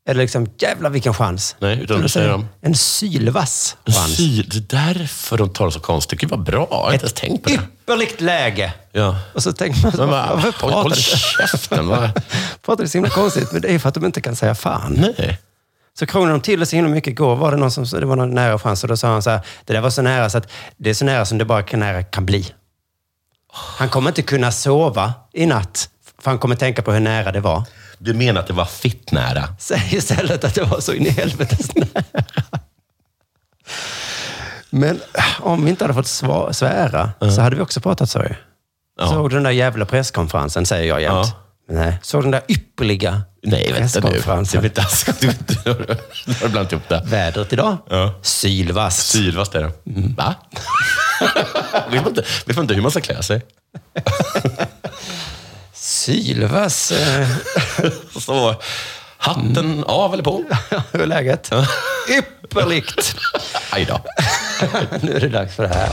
S2: eller liksom, jävlar vilken chans.
S3: Nej, utan då
S2: då
S3: säger de-
S2: En sylvass chans.
S3: Sy, det är därför de tar det så konstigt. Gud vad bra, jag har inte ens tänkt på det.
S2: ypperligt läge.
S3: Ja.
S2: Och så tänker man,
S3: Men bara,
S2: varför
S3: håll,
S2: pratar
S3: håll
S2: du?
S3: käften. Va?
S2: Pratar du så himla konstigt? Men det är ju för att de inte kan säga fan.
S3: Nej.
S2: Så krånglade de till det så himla mycket. Igår var det någon som, det var någon nära chans och då sa han så här, det där var så nära så att det är så nära som det bara kan, nära kan bli. Han kommer inte kunna sova i natt, för han kommer tänka på hur nära det var.
S3: Du menar att det var fitt nära?
S2: Säg istället att det var så in i helvetes nära. Men om vi inte hade fått sva- svära så hade vi också pratat så ju.
S3: Ja.
S2: Såg du den där jävla presskonferensen, säger jag jämt. Nej. Såg du den där ypperliga
S3: Nej, vänta nu. Det
S2: presskonferensen?
S3: blir taskigt. alltså, Du, du, du, du har blandat ihop det.
S2: Vädret idag?
S3: Ja.
S2: Sylvasst.
S3: Sylvast är det. Va? vet, man Mm. inte, vet man inte hur man ska klä sig?
S2: Sylvass. eh,
S3: Så, hatten av eller på?
S2: Hur är läget? Ypperligt.
S3: Aj då.
S2: nu är det dags för det här.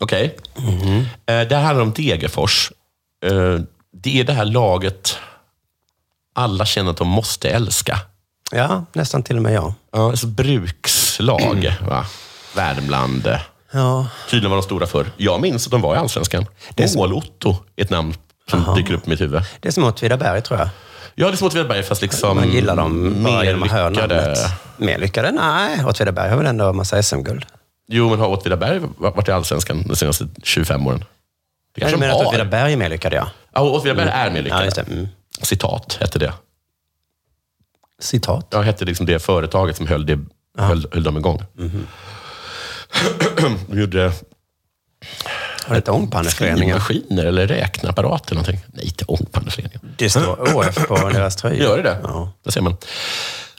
S3: Okej.
S2: Mhm.
S3: Eh, Det här handlar om Degerfors. Eh, Det är det här laget alla känner att de måste älska.
S2: Ja, nästan till och med jag.
S3: Ja. Alltså brukslag.
S2: Mm.
S3: Va? Värmland. eh,
S2: Ja.
S3: Tydligen var de stora förr. Jag minns att de var i Allsvenskan. Mål-Otto är ett namn som dyker upp i mitt huvud.
S2: Det är som Åtvidaberg, tror jag.
S3: Ja, det är som Åtvidaberg, fast liksom...
S2: Man gillar dem bara
S3: mer
S2: genom att höra
S3: lyckade.
S2: namnet. Mer lyckade? Nej, Åtvidaberg har väl ändå en massa SM-guld?
S3: Jo, men har Åtvidaberg varit i Allsvenskan de senaste 25 åren? Det
S2: Jag
S3: kanske
S2: menar
S3: de
S2: att
S3: har.
S2: Åtvidaberg är mer lyckade, ja.
S3: Ja, Åtvidaberg är mer
S2: ja just det.
S3: lyckade.
S2: Mm.
S3: Citat hette det.
S2: Citat.
S3: Ja, hette liksom det företaget som höll, det, höll, höll dem igång.
S2: Mhm.
S3: De gjorde
S2: Har du inte ångpanneföreningen?
S3: skrivmaskiner eller räkneapparater någonting. Nej, inte ångpanneföreningen.
S2: Det står ÅF på deras tröja.
S3: Gör det det?
S2: Ja.
S3: Där ser man.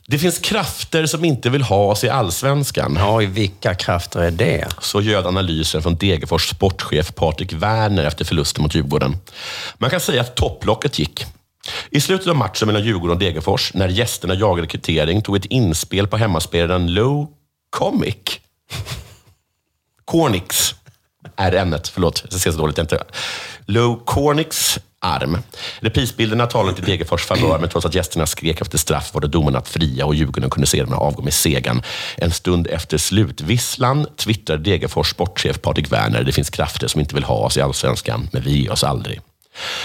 S3: Det finns krafter som inte vill ha oss i allsvenskan.
S2: Oj, vilka krafter är det?
S3: Så göd analysen från Degerfors sportchef Patrik Werner efter förlusten mot Djurgården. Man kan säga att topplocket gick. I slutet av matchen mellan Djurgården och Degerfors, när gästerna jagade kvittering, tog ett inspel på hemmaspelaren Low Comic. Cornix är ämnet. Förlåt, det ser så dåligt inte. Low Cornix arm. Reprisbilderna talar inte Degerfors favör, men trots att gästerna skrek efter straff var det domarna att fria och Djurgården kunde sedan avgå med segern. En stund efter slutvisslan twittrade Degerfors sportchef Patrik Werner, det finns krafter som inte vill ha oss i allsvenskan, men vi ger oss aldrig.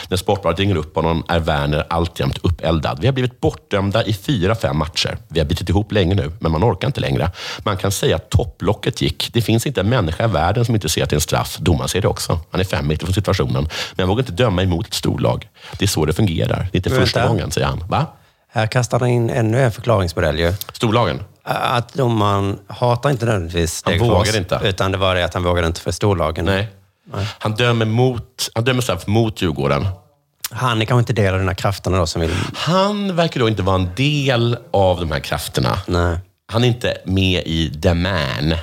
S3: När Sportbladet ringer upp honom är Werner alltjämt uppeldad. Vi har blivit bortdömda i fyra, fem matcher. Vi har bitit ihop länge nu, men man orkar inte längre. Man kan säga att topplocket gick. Det finns inte en människa i världen som inte ser att det är en straff. Domaren ser det också. Han är fem meter från situationen, men han vågar inte döma emot ett storlag. Det är så det fungerar. Det är inte
S2: Vänta.
S3: första gången, säger han. Va?
S2: Här kastar han in ännu en förklaringsmodell ju.
S3: Storlagen?
S2: Att domaren hatar inte nödvändigtvis
S3: Han
S2: Degerfors,
S3: vågade inte.
S2: Utan det var det att han vågade inte för storlagen.
S3: Nej. Han dömer, mot, han dömer straff mot Djurgården.
S2: Han är kanske inte del av den här krafterna då som vill...
S3: Han verkar då inte vara en del av de här krafterna.
S2: Nej.
S3: Han är inte med i The Man.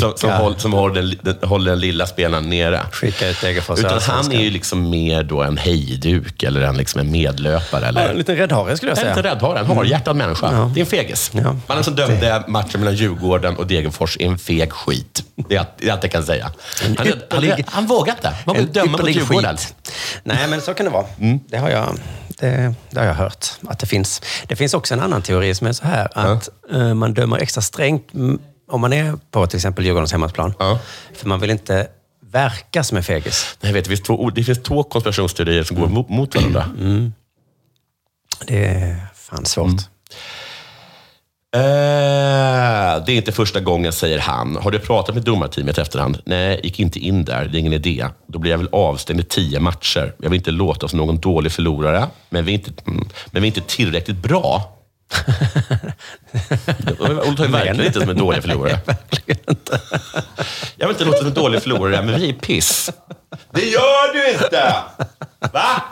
S3: som, som, håll, som håller, den, den, håller den lilla spelaren nere.
S2: Skicka ut Degerfors i
S3: Utan han
S2: Allsvenskan.
S3: är ju liksom mer då en hejduk eller en, liksom en medlöpare. Eller?
S2: En liten räddhare skulle jag
S3: Jag är
S2: säga. Mm.
S3: inte rädd, har en harhjärtad människa. Det är en fegis.
S2: Ja.
S3: Mannen som dömde matchen mellan Djurgården och Degerfors är en feg skit. Det är allt- det är allt jag kan säga. Han, han, han,
S2: ypperlig-
S3: han vågar inte. Man vill
S2: En
S3: döma mot
S2: ypperlig
S3: Djurgården. Mm.
S2: skit. Nej, men så kan det vara. Det, har jag, det, det har jag hört att det finns. Det finns också en annan teori som är så här att eh, man dömer extra strängt mm, om man är på till exempel Djurgårdens hemmaplan.
S3: Ja.
S2: För man vill inte verka som en fegis.
S3: Nej, vet, du, det, finns två, det finns två konspirationsteorier som går mot, mot varandra.
S2: Det är Fan, svårt.
S3: Mm. Eh, det är inte första gången, säger han. Har du pratat med domarteamet i efterhand? Nej, gick inte in där. Det är ingen idé. Då blir jag väl avstängd i tio matcher. Jag vill inte låta som någon dålig förlorare, men vi är inte, mm, men vi är inte tillräckligt bra. Olle tar ju verkligen inte som en dålig förlorare. Jag vill inte låta som en dålig förlorare, men vi är piss. Det gör du inte! Va?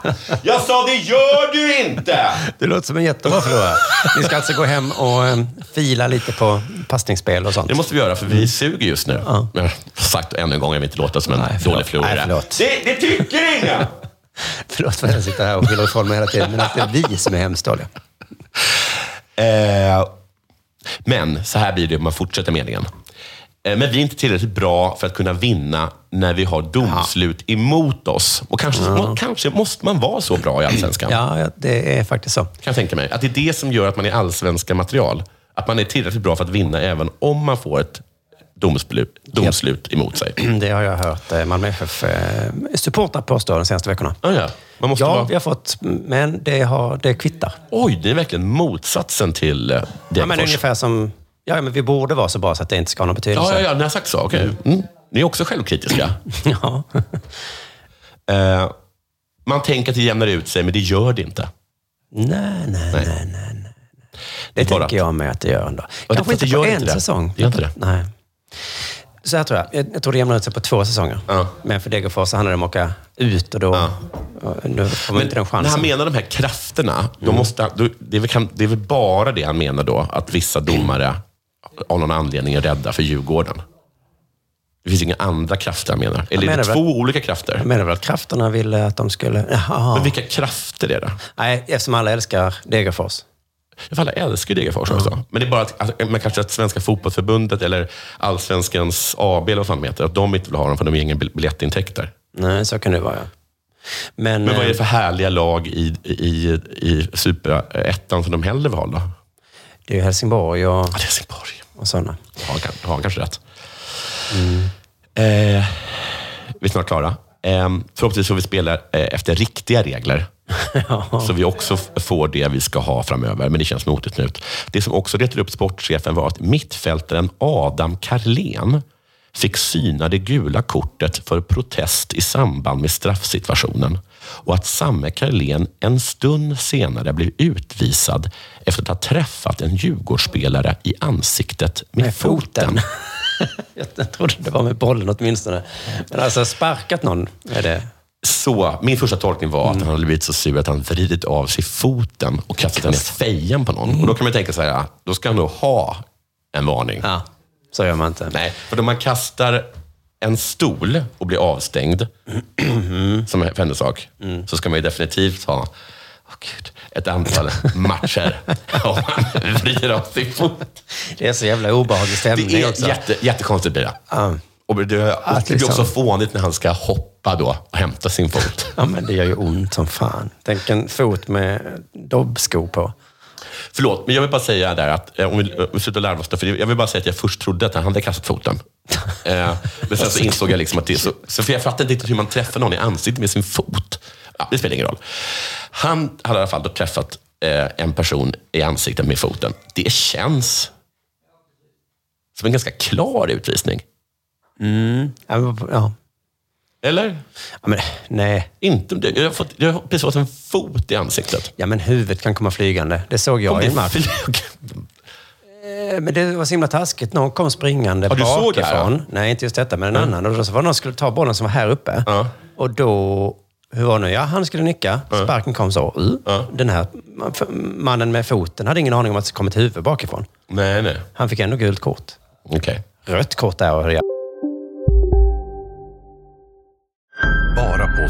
S3: Jag sa, det gör du inte!
S2: Det låter som en jättebra förlorare. Ni ska alltså gå hem och eh, fila lite på passningsspel och sånt.
S3: Det måste vi göra, för vi suger just nu. Jag har sagt ännu en gång, jag vill inte låta som en
S2: Mm. Nej, förlåt.
S3: dålig förlorare.
S2: Nej, förlåt.
S3: det, det tycker ingen!
S2: Förlåt för att jag sitter här och skyller ifrån mig hela tiden, men att det är vi som är hemskt dåliga.
S3: Eh, men så här blir det om man fortsätter meningen. Eh, Men vi är inte tillräckligt bra för att kunna vinna när vi har domslut emot oss. Och kanske, må, kanske måste man vara så bra i Allsvenskan.
S2: Ja, ja, det är faktiskt så.
S3: Kan jag tänka mig. Att det är det som gör att man är allsvenska material. Att man är tillräckligt bra för att vinna även om man får ett domslut, domslut emot sig.
S2: Det har jag hört eh, Malmö FF-supportrar påstå de senaste veckorna.
S3: Ja, ja. Man måste
S2: Ja,
S3: vara...
S2: vi har fått, men det, har, det kvittar.
S3: Oj, det är verkligen motsatsen till eh,
S2: Ja, men
S3: Degerfors.
S2: ungefär som... Ja, men vi borde vara så bra så att det inte ska ha någon
S3: Ja,
S2: betydelse.
S3: ja, ja, ni har sagt så. Okej. Mm. Ni är också självkritiska.
S2: ja. ja. Mm.
S3: Eh, man tänker att det jämnar ut sig, men det gör det inte.
S2: Nej, nej, nej, nej. nej. Det
S3: Bara.
S2: tänker jag med att det gör ändå.
S3: Ja,
S2: Kanske
S3: fast
S2: inte
S3: det
S2: på
S3: gör
S2: en
S3: inte det.
S2: säsong.
S3: Det gör inte det.
S2: Nej. Så här tror jag. Jag, jag tror det jämnar ut sig på två säsonger.
S3: Ja.
S2: Men för Degerfors så handlar det om att åka ut och då... och Nu får man inte den
S3: när han
S2: chansen. Mm.
S3: menar de här krafterna, då måste, han- då, det, är väl, kan- det är väl bara det han menar då, att vissa domare av någon anledning är rädda för Djurgården. Det finns inga andra krafter han menar. Eller
S2: Han
S3: är det
S2: menar
S3: två
S2: väl-
S3: olika krafter?
S2: Jag menar väl att krafterna ville att de skulle... Jaha.
S3: Men vilka krafter är det?
S2: Nej, eftersom alla älskar Degerfors.
S3: Jag alla älskar ju Degerfors också. Men det är bara att, att, men kanske att Svenska fotbollsförbundet eller Allsvenskans AB, eller vad fan de heter, att de inte vill ha dem för de har inga bil- biljettintäkter.
S2: Nej, så kan det vara, ja. Men,
S3: Men vad är
S2: eh,
S3: det för härliga lag i, i, i superettan som de hellre vill ha då?
S2: eh, det är ju Helsingborg och,
S3: Ja, det är Helsingborg.
S2: och sådana.
S3: Har han, kan- har han kanske rätt. Eh, vi är snart klara. Eh, förhoppningsvis får vi spela eh, efter riktiga regler. Så vi också f- får det vi ska ha framöver. Men det känns motigt nu. Det som också retade upp sportchefen var att mittfältaren Adam Karlén fick syna det gula kortet för protest i samband med straffsituationen. Och att samme Karlén en stund senare blev utvisad efter att ha träffat en Djurgårdsspelare i ansiktet med,
S2: Med foten.
S3: foten.
S2: Jag trodde det var med bollen åtminstone. Men alltså sparkat någon är det.
S3: Så, min första tolkning var
S2: Mm.
S3: att han hade blivit så sur att han vridit av sig foten och kastat den i fejan på någon. Och då kan man tänka så här, ja, då ska han nog ha en varning.
S2: Ja, så gör man inte.
S3: Nej, för om man kastar en stol och blir avstängd,
S2: Mm.
S3: som för hennes sak, så ska man ju definitivt ha åh Gud, ett antal matcher om man vrider av sig fot.
S2: Det är så jävla obehaglig stämning
S3: Det är
S2: också.
S3: jätte, jättekonstigt blir det. Och det, och det blir också
S2: liksom-
S3: fånigt när han ska hoppa då och hämta sin fot.
S2: Ja, men det gör ju ont som fan. Tänk en fot med dobbsko på.
S3: Förlåt, men jag vill bara säga där att, eh, om vi, eh, vi slutar larva oss, där, för jag vill bara säga att jag först trodde att han hade kastat foten. Eh, men sen så insåg jag liksom att det är så, så för jag fattade inte riktigt hur man träffar någon i ansiktet med sin fot. Ja, det spelar ingen roll. Han hade i alla fall då träffat eh, en person i ansiktet med foten. Det känns som en ganska klar utvisning.
S2: Ja, men, ja.
S3: Eller?
S2: ja men nej.
S3: Inte, om det- jag, har fått, jag har precis fått en fot i ansiktet.
S2: Ja, men huvudet kan komma flygande. Det såg jag
S3: Om
S2: i
S3: det
S2: en match.
S3: flög.
S2: Eh, Men det var så himla taskigt. Någon kom springande
S3: Ja, du såg det här,
S2: bakifrån. Nej, inte just detta, men en annan. Och då så var det någon som skulle ta bollen som var här uppe.
S3: Ja.
S2: Och då, hur var det nu? Ja, han skulle nicka. Sparken kom så. Uh. Den här man- f- mannen med foten hade ingen aning om att det kom ett huvud bakifrån.
S3: Nej, nej.
S2: Han fick ändå gult kort.
S3: Okej.
S2: Rött kort där och ja.
S4: Bara på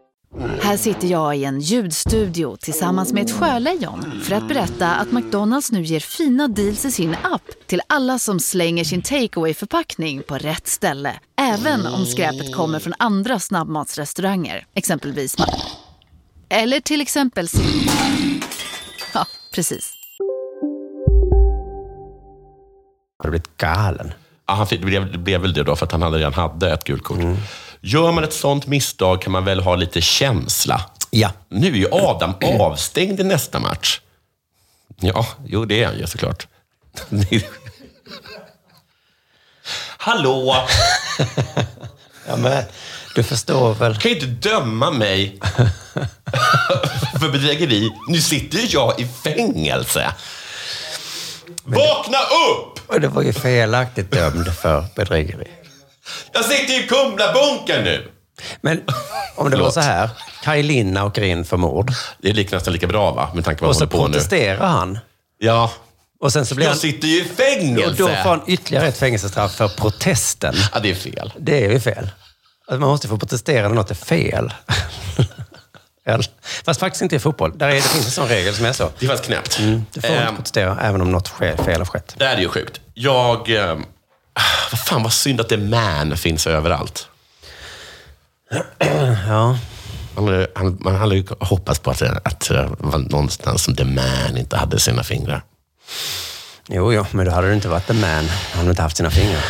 S5: Här sitter jag i en ljudstudio tillsammans med ett sjölejon för att berätta att McDonalds nu ger fina deals i sin app till alla som slänger sin takeaway förpackning på rätt ställe. Även om skräpet kommer från andra snabbmatsrestauranger, exempelvis Ma- Eller till exempel Sil- Ja, precis.
S2: Han har blivit galen.
S3: Ja, Ah, han fick, det, blev, det blev väl det då, för att han hade redan hade ett gult kort. Gör man ett sånt misstag kan man väl ha lite känsla.
S2: Ja.
S3: Nu är ju Adam avstängd i nästa match. Ja, jo det är han ju såklart. Hallå!
S2: ja men, du förstår väl.
S3: Du kan ju inte döma mig för bedrägeri. Nu sitter ju jag i fängelse. Vakna upp!
S2: Och det var ju felaktigt dömd för bedrägeri.
S3: Jag sitter i Kumlabunkern nu.
S2: Men om det var
S3: Förlåt.
S2: så här. Kaj Linna åker in för mord.
S3: Det är nästan lika bra va, med tanke på
S2: Och
S3: vad
S2: så
S3: han håller på nu.
S2: protesterar han.
S3: Ja.
S2: Och sen så blir
S3: Jag
S2: han...
S3: sitter ju i
S2: Och då får
S3: fängelse.
S2: han ytterligare ett fängelsestraff för protesten.
S3: Ja, det är fel.
S2: Det är ju fel. Alltså, man måste få protestera när något är fel. Eller- Fast faktiskt inte i fotboll. Där är, det finns en sån regel som är så.
S3: Det är faktiskt knäppt.
S2: Du Mm, får inte
S3: Ehm,
S2: protestera även om något sker, fel har skett.
S3: Det här är ju sjukt. Jag... ehm, Vad fan, vad synd att det man finns överallt.
S2: Ja.
S3: Man hade, han- man hade ju hoppats på att, att eh, det var någonstans som the man inte hade sina fingrar.
S2: Jo, jo, men då hade du inte varit the man. Han hade inte haft sina fingrar.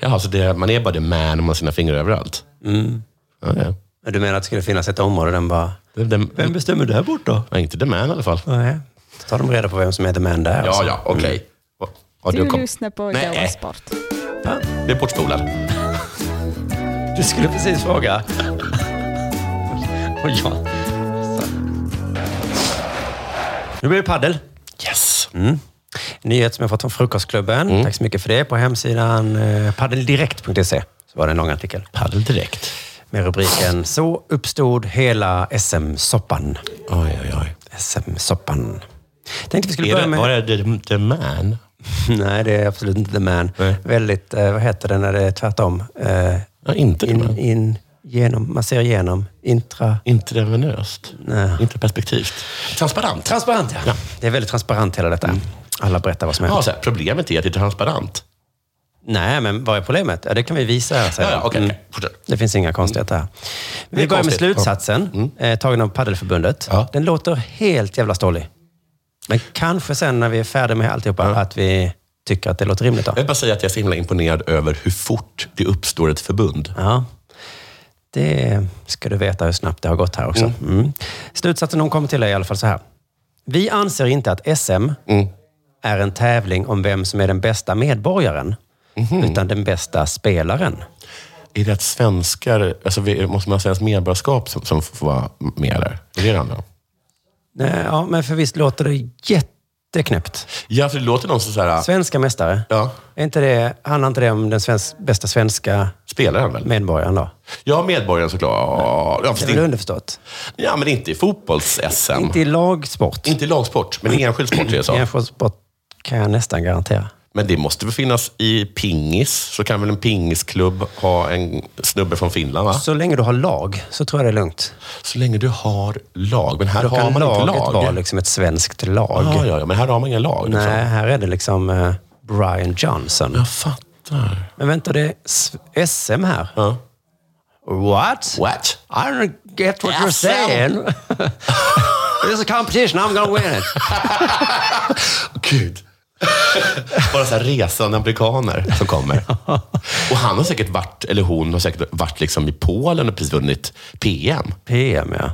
S3: Jaha, så det, man är bara the man om man har sina fingrar överallt? Mm. Ja, ja.
S2: Men Du menar att det skulle finnas ett område där man bara...
S3: Det- det-
S2: Vem bestämmer där borta?
S3: ja, inte the man i alla fall.
S2: Nej. Då tar de reda på vem som är the man där.
S3: Ja,
S2: alltså.
S3: ja, okej. Och- och
S6: Du
S3: kom-
S6: lyssnar på
S3: Nej.
S6: Della Sport.
S3: Det är bortspolad.
S2: Du skulle precis fråga. Och jag... Nu blir det paddel. Mm.
S3: Yes. Mm.
S2: Nyhet som jag fått från Frukostklubben. Tack så mycket för det. På hemsidan eh, paddeldirekt.se så var det en lång artikel
S3: Paddel direkt.
S2: med rubriken Så uppstod hela SM-soppan.
S3: Oj, oj, oj.
S2: SM-soppan. Tänkte vi skulle
S3: Är
S2: börja
S3: det,
S2: med...
S3: var det the, the man?
S2: Nej, det är absolut inte the man.
S3: Nej.
S2: Väldigt, eh, vad heter det när det är tvärtom? Eh,
S3: Ja, inte the
S2: in,
S3: man.
S2: in, genom, man ser igenom. Intra...
S3: Inte det venöst.
S2: Nej.
S3: Inte perspektivt. Transparent.
S2: Transparent, ja. Det är väldigt transparent hela detta. Alla berättar vad som hänt.
S3: Mm. Ja, så här, problemet är att det är transparent.
S2: Nej, men vad är problemet? Ja, det kan vi visa här sen.
S3: Ja, ja, okej,
S2: Mm.
S3: okej. Fortsätt.
S2: Det finns inga konstigheter här.
S3: Det
S2: Vi
S3: är
S2: börjar med
S3: konstigt. Mm.
S2: slutsatsen, eh, tagen av Paddelförbundet.
S3: Ja.
S2: Den låter helt jävla stollig. Men kanske sen när vi är färdiga med alltihopa, att vi tycker att det låter rimligt. Då.
S3: Jag vill bara säga att jag är så himla imponerad över hur fort det uppstår ett förbund.
S2: Ja. Det ska du veta hur snabbt det har gått här också. Mm. Slutsatsen hon kommer till är i alla fall så här. Vi anser inte att SM
S3: Mm.
S2: är en tävling om vem som är den bästa medborgaren,
S3: Mhm.
S2: utan den bästa spelaren.
S3: Är det att svenskar, alltså vi, måste man ha svenskt medborgarskap som, som får vara med där? Är det det andra?
S2: Nej, ja, men för visst låter det jätteknäppt.
S3: Ja, för det låter någon som så här,
S2: Svenska mästare.
S3: Ja.
S2: Är inte det, handlar inte det om den svensk, bästa svenska
S3: spelaren väl?
S2: medborgaren då?
S3: Ja, medborgaren såklart. Ja,
S2: Det
S3: fast
S2: är väl
S3: det,
S2: underförstått?
S3: ja men inte i fotbolls-SM.
S2: Inte i lagsport.
S3: Inte i lagsport, men i enskild sport. Jag
S2: I
S3: sa.
S2: enskild sport kan jag nästan garantera.
S3: Men det måste väl finnas i pingis? Så kan väl en pingisklubb ha en snubbe från Finland? Va?
S2: Så länge du har lag så tror jag det är lugnt.
S3: Så länge du har lag. Men här
S2: Då
S3: har
S2: kan
S3: man
S2: laget
S3: inte lag.
S2: vara liksom ett svenskt lag.
S3: ja, ja, ja, men här har man inga lag. liksom.
S2: Nej, här är det liksom eh, Brian Johnson.
S3: Jag fattar.
S2: Men vänta, det är s- SM här.
S3: Ja.
S2: What?
S3: What?
S2: I don't get what you're
S3: SM.
S2: saying. It's a competition, I'm gonna win it.
S3: Gud. Bara så här resande amerikaner som kommer. Och han har säkert varit, eller hon har säkert varit liksom i Polen och precis vunnit PM.
S2: PM, ja.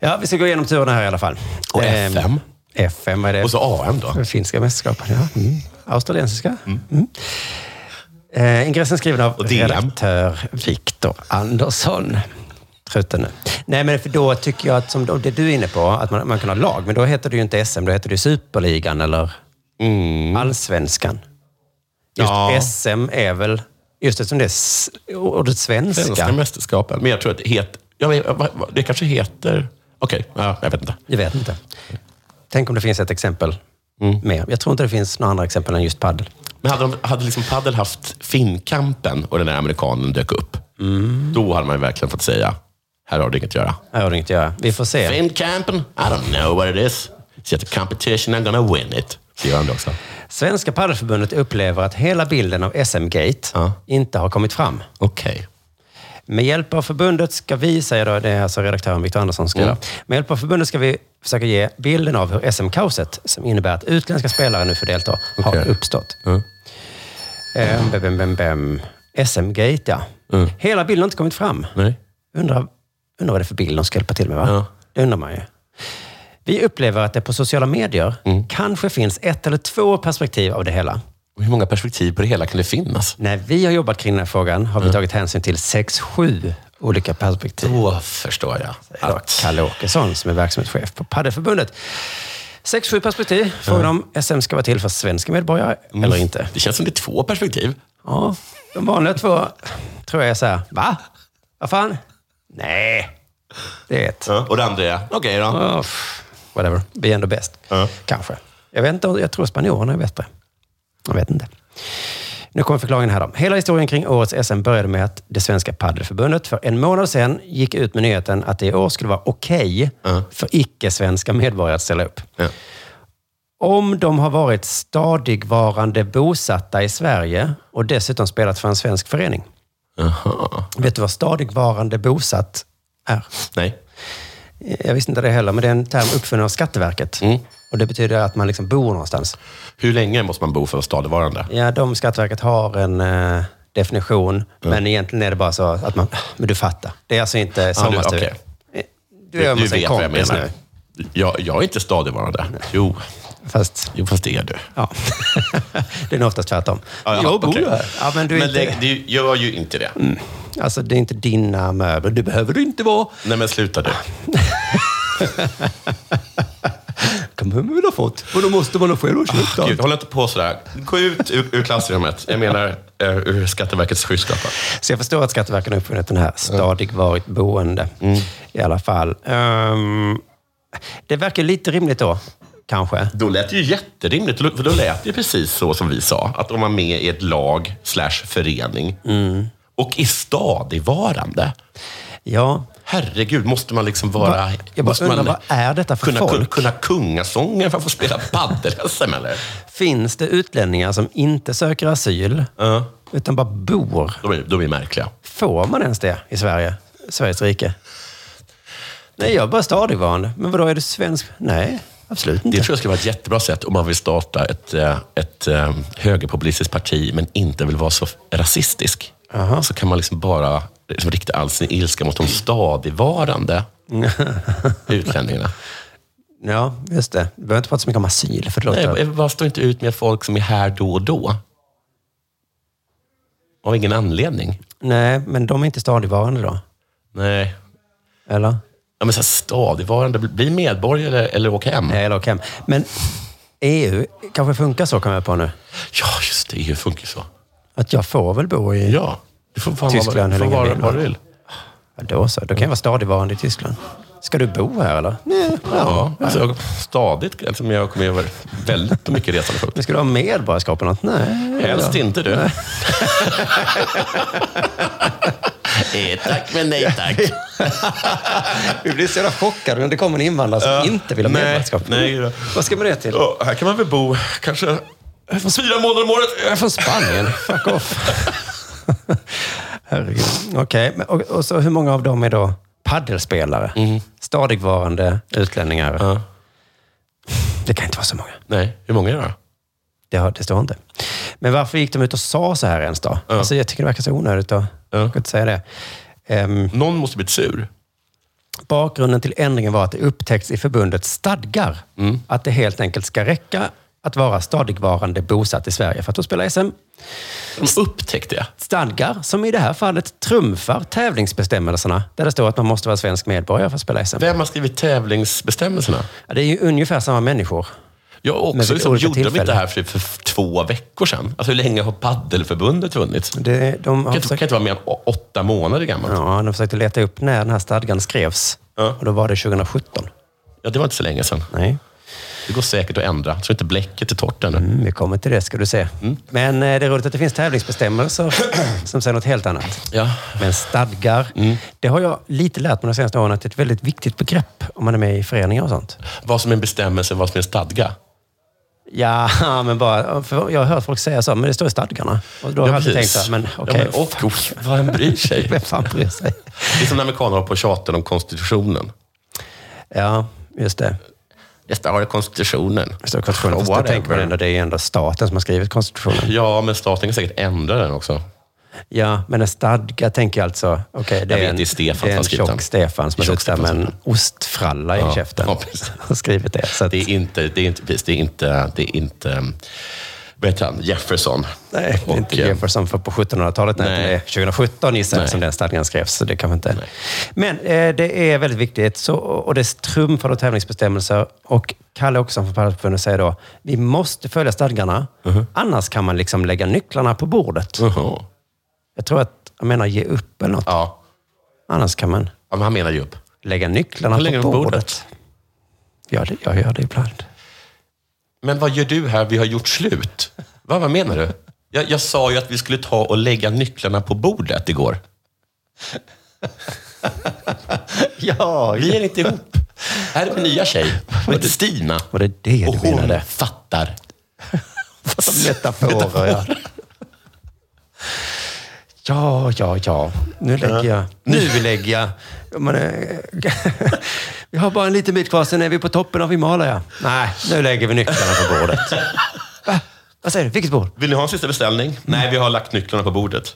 S2: Ja, vi ska gå igenom turerna här i alla fall.
S3: Och FM.
S2: FM, vad är det?
S3: Och så AM då.
S2: Den Finska mästerskapen, ja. Mm. Australiensiska. Mm. Eh, ingressen skriven av
S3: Och DM.
S2: redaktör Viktor Andersson. Truten nu. Nej, men för då tycker jag att, som då- det du är inne på, att man, man kan ha lag, men då heter det ju inte SM, då heter det ju Superligan eller Allsvenskan. Just
S3: Mm. Ja.
S2: SM är väl, just eftersom det är s- ordet
S3: Svenska
S2: svenska.
S3: mästerskapen. Men jag tror att det heter... Jag vet, vad- vad- det kanske heter... Okej, ja, jag vet inte.
S2: Jag vet inte. Tänk om det finns ett exempel
S3: Mm.
S2: mer. Jag tror inte det finns några andra exempel än just paddel.
S3: Men hade, de, hade liksom Padel haft Finnkampen och den där amerikanen dök upp, då hade man ju verkligen fått säga Här har du inget att göra.
S2: Här har du inget att göra. Vi får se.
S3: Vindkampen? I don't know what it is. It's just a competition, I'm gonna win it. Så gör han det också.
S2: Svenska paddelförbundet upplever att hela bilden av SM-gate inte har kommit fram.
S3: Okej.
S2: Med hjälp av förbundet ska vi, säger då, det är alltså redaktören Viktor Andersson
S3: Mm.
S2: som skriver. Med hjälp av förbundet ska vi försöka ge bilden av hur SM-kaoset, som innebär att utländska spelare nu får delta, har
S3: Okej. Mm.
S2: uppstått. Eh, bem, bem, bem, bem. SM-gate, ja. Hela bilden har inte kommit fram.
S3: Mm. Nej.
S2: Undrar, undrar vad det är för bild de ska hjälpa till med, va?
S3: Ja.
S2: Det undrar man ju. Vi upplever att det på sociala medier
S3: Mm.
S2: kanske finns ett eller två perspektiv av det hela.
S3: Hur många perspektiv på det hela kan det finnas?
S2: När vi har jobbat kring den här frågan har vi tagit hänsyn till sex, sju olika perspektiv.
S3: Då förstår jag.
S2: Idag
S3: Att,
S2: Kalle Åkesson som är verksamhetschef på Paddelförbundet. Sex, sju perspektiv. Frågan om SM ska vara till för svenska medborgare
S3: Mm.
S2: eller inte.
S3: det känns som det är två perspektiv.
S2: Ja, de vanliga två tror jag är så här, va? Vad fan? Nej, det är ett.
S3: Ja. Och det andra är, okej då.
S2: Oh, pff, whatever, vi är ändå bäst.
S3: Ja.
S2: Kanske. Jag vet inte, jag tror spanjorerna är bättre. Jag vet inte. Nu kommer förklaringen här då. Hela historien kring årets SM började med att det svenska paddelförbundet för en månad sedan gick ut med nyheten att det i år skulle vara okej för icke-svenska medborgare att ställa upp.
S3: Ja.
S2: Om de har varit stadigvarande bosatta i Sverige och dessutom spelat för en svensk förening.
S3: Jaha.
S2: Vet du vad stadigvarande bosatt är?
S3: Nej.
S2: Jag visste inte det heller, men det är en term uppfunnen av Skatteverket.
S3: Mm.
S2: Och det betyder att man liksom bor någonstans.
S3: Hur länge måste man bo för att vara stadigvarande?
S2: Ja, de Skatteverket har en eh, definition, men egentligen är det bara så att man... "Ah, Men du fattar. Det är alltså inte
S3: du-
S2: sommarstuga.
S3: okej.
S2: Eh, Du är hos en kompis nu.
S3: Jag, jag är inte stadigvarande. Jo.
S2: Fast,
S3: jo, fast det är du.
S2: ja. det är nog oftast tvärtom.
S3: Ja, ja, okej.
S2: Ja, men du är
S3: men
S2: inte,
S3: lägg- du gör ju inte det.
S2: alltså, det är inte dina möbler. Det behöver du inte vara.
S3: Nej, men sluta du.
S2: Ah, Kom hur man har fått. Och då måste man ha själv och köpt
S3: Ah, Gud, håll inte på sådär. Gå ut ur, ur klassrummet. Jag menar eh, ur Skatteverkets skyskrapa.
S2: Så jag förstår att Skatteverket har uppfunnit den här stadigvarigt boende.
S3: Mm.
S2: I alla fall. Ehm, det verkar lite rimligt då, kanske.
S3: Då lät det ju jätterimligt, för då lät det ju precis så som vi sa. Att om man är med i ett lag slash förening
S2: Mm.
S3: och är stadigvarande.
S2: Ja,
S3: Herregud, måste man liksom vara...
S2: Va- jag bara
S3: måste
S2: undrar, vad är detta för
S3: kunna,
S2: folk?
S3: Kunna kungasånger för att få spela padel-SM, eller?
S2: finns det utlänningar som inte söker asyl, utan bara bor?
S3: De är, de är märkliga.
S2: Får man ens det i Sverige? Sveriges rike? Nej, jag är bara stadigvarande. Men vadå, är du svensk? Nej, absolut
S3: Det
S2: inte.
S3: tror jag skulle vara ett jättebra sätt om man vill starta ett, eh, ett eh, högerpopulistiskt parti men inte vill vara så rasistisk. Så kan man liksom bara liksom rikta all sin ilska mot de stadigvarande utlänningarna.
S2: Ja, just det. Vi behöver inte prata så mycket om asyl, för det
S3: Nej,
S2: låter...
S3: jag bara står inte ut med folk som är här då och då. Av ingen anledning.
S2: Nej, men de är inte stadigvarande då?
S3: Nej.
S2: Eller?
S3: Ja, men så här stadigvarande, bli medborgare eller, eller åk hem.
S2: Nej, eller åk hem. Men EU kanske funkar så, kommer jag på nu.
S3: Ja, just det. EU funkar ju så.
S2: Att jag får väl bo i...
S3: Ja. Du får fan
S2: Tyskland, hur
S3: vara, du får
S2: länge vill
S3: vara
S2: du?
S3: vad du vill.
S2: Ja, då så. Då kan jag vara stadigvarande i Tyskland. Ska du bo här, eller? Nej.
S3: Ja, alltså jag, stadigt. Eftersom jag kommer göra väldigt mycket resande folk.
S2: Men ska du ha medborgarskap eller något? Nej.
S3: Helst
S2: eller?
S3: inte du. eh, tack, men nej tack.
S2: Du blir så jävla chockad när det kommer en invandrare som
S3: Ja.
S2: inte vill ha
S3: Nej,
S2: medborgarskap.
S3: nej, ja.
S2: Vad ska man det till?
S3: Ja, här kan man väl bo kanske fyra månader om året.
S2: Jag är från Spanien. Fuck off. Herregud. Okej, men- och, och så hur många av dem är då paddelspelare? Stadigvarande utlänningar?
S3: Mm. Ja.
S2: Det kan inte vara så många.
S3: Nej, hur många är det då?
S2: Det, har, det står inte. Men varför gick de ut och sa så här ens då? Alltså, jag tycker det verkar så onödigt att
S3: Ja.
S2: att säga det. Ehm,
S3: Någon måste blivit sur.
S2: bakgrunden till ändringen var att det upptäckts i förbundets stadgar
S3: Mm.
S2: att det helt enkelt ska räcka att vara stadigvarande bosatt i Sverige för att få spela SM.
S3: De upptäckte det.
S2: Stadgar som i det här fallet trumfar tävlingsbestämmelserna där det står att man måste vara svensk medborgare för att spela SM.
S3: Vem har skrivit tävlingsbestämmelserna?
S2: Ja, det är ju ungefär samma människor.
S3: Jag
S2: Men
S3: också.
S2: vid
S3: Liksom,
S2: olika
S3: gjorde de
S2: tillfällen.
S3: inte det här för, för två veckor sedan? Alltså, hur länge har paddelförbundet vunnits? Det
S2: Det, de
S3: kan
S2: har
S3: inte, kan
S2: försökt,
S3: inte vara mer än å- åtta månader gammalt. Ja.
S2: ja, de försökte leta upp när den här stadgan skrevs.
S3: Ja.
S2: Och då var det 2017.
S3: det var inte så länge sedan.
S2: Nej.
S3: Det går säkert att ändra. Jag tror inte bläcket är torrt ännu.
S2: Mm, vi kommer till det, ska du se.
S3: Mm.
S2: Men eh, det är roligt att det finns tävlingsbestämmelser som säger något helt annat.
S3: Ja. Mm.
S2: Men stadgar, det har jag lite lärt mig de senaste åren att det är ett väldigt viktigt begrepp om man är med i föreningar och sånt.
S3: Vad som är en bestämmelse, vad som är en stadga.
S2: Ja, men bara... För jag har hört folk säga så, men det står i stadgarna. Och då har jag alltid tänkt så här, men okej.
S3: ja, men, och, vad en bryr sig.
S2: vem fan bryr sig?
S3: Det är som när amerikaner håller på och tjatar om konstitutionen.
S2: Ja, just det.
S3: Nästa har det konstitutionen.
S2: Det står i konstitutionen. Fast
S3: Oh,
S2: då tänker man
S3: whatever.
S2: ändå, det är ändå staten som har skrivit konstitutionen.
S3: Ja, men staten kan säkert ändra den också.
S2: Ja, men en stadga tänker jag alltså... Okej, det
S3: Jag
S2: är
S3: vet,
S2: en,
S3: det är Stefan som
S2: det är
S3: har
S2: en
S3: skrivit den.
S2: tjock Stefan som har
S3: Tjock
S2: suttit där med
S3: Stefan som
S2: en ostfralla
S3: Ja,
S2: i käften
S3: ja, precis.
S2: och skrivit det. Så att,
S3: Det är inte, det är inte, precis, det är inte, det är inte um, vad heter han, Jefferson.
S2: nej, det är inte
S3: eh,
S2: Jefferson för på 1700-talet. Nej,
S3: nej.
S2: det är 2017 gissar jag
S3: Nej.
S2: som den stadgan skrevs. Så det kan man inte. Men eh, det är väldigt viktigt. Så, och det trumfar då tävlingsbestämmelser. Och Kalle Åkesson från Paddelsförbundet säger då, vi måste följa stadgarna.
S3: Mhm.
S2: Annars kan man liksom lägga nycklarna på bordet.
S3: Jaha.
S2: Jag tror att, jag menar ge upp eller något.
S3: Ja,
S2: Annars kan man
S3: ja, men han menar ju upp.
S2: lägga nycklarna
S3: Han lägger
S2: på
S3: dem på
S2: bordet.
S3: bordet.
S2: Ja, det, jag gör det ibland.
S3: Men vad gör du här? Vi har gjort slut. Va, vad menar du? Jag, jag sa ju att vi skulle ta och lägga nycklarna på bordet igår.
S2: Ja,
S3: Vi är inte ihop. Här är min nya tjej. Hon heter Stina.
S2: Var det det
S3: Och
S2: du menade?
S3: hon fattar.
S2: Metaforer, ja. Ja, ja, ja. Nu lägger jag. Nu lägger jag. Men, eh, vi har bara en liten bit kvar, sen är vi på toppen av Himalaya. Nej, nu lägger vi nycklarna på bordet. Va? Vad säger du? Vilket bord?
S3: Vill ni ha en sista beställning?
S2: Mm.
S3: Nej, vi har lagt nycklarna på bordet.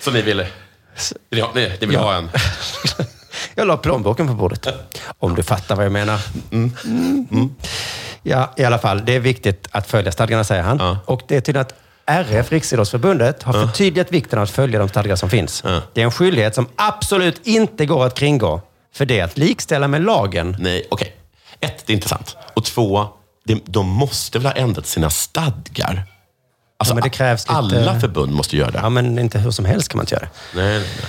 S3: Så ni ville? Vill ni ha, nej, ni vill
S2: Ja.
S3: ha en?
S2: Jag la plånboken på bordet. Om du fattar vad jag menar. Mm. Ja, i alla fall. Det är viktigt att följa stadgarna, säger han.
S3: Ja.
S2: Och det är tydligt att RF, Riksidrottsförbundet, har förtydligat vikten av att följa de stadgar som finns.
S3: Ja.
S2: Det är en skyldighet som absolut inte går att kringgå. För det är att likställa med lagen.
S3: Nej, okej. Ett, det är inte sant. Och två, det, de måste väl ha ändrat sina stadgar? Alltså,
S2: Ja, men det krävs lite-
S3: alla förbund måste göra det.
S2: Ja, men inte hur som helst kan man inte göra
S3: Nej, nej, nej.
S2: det.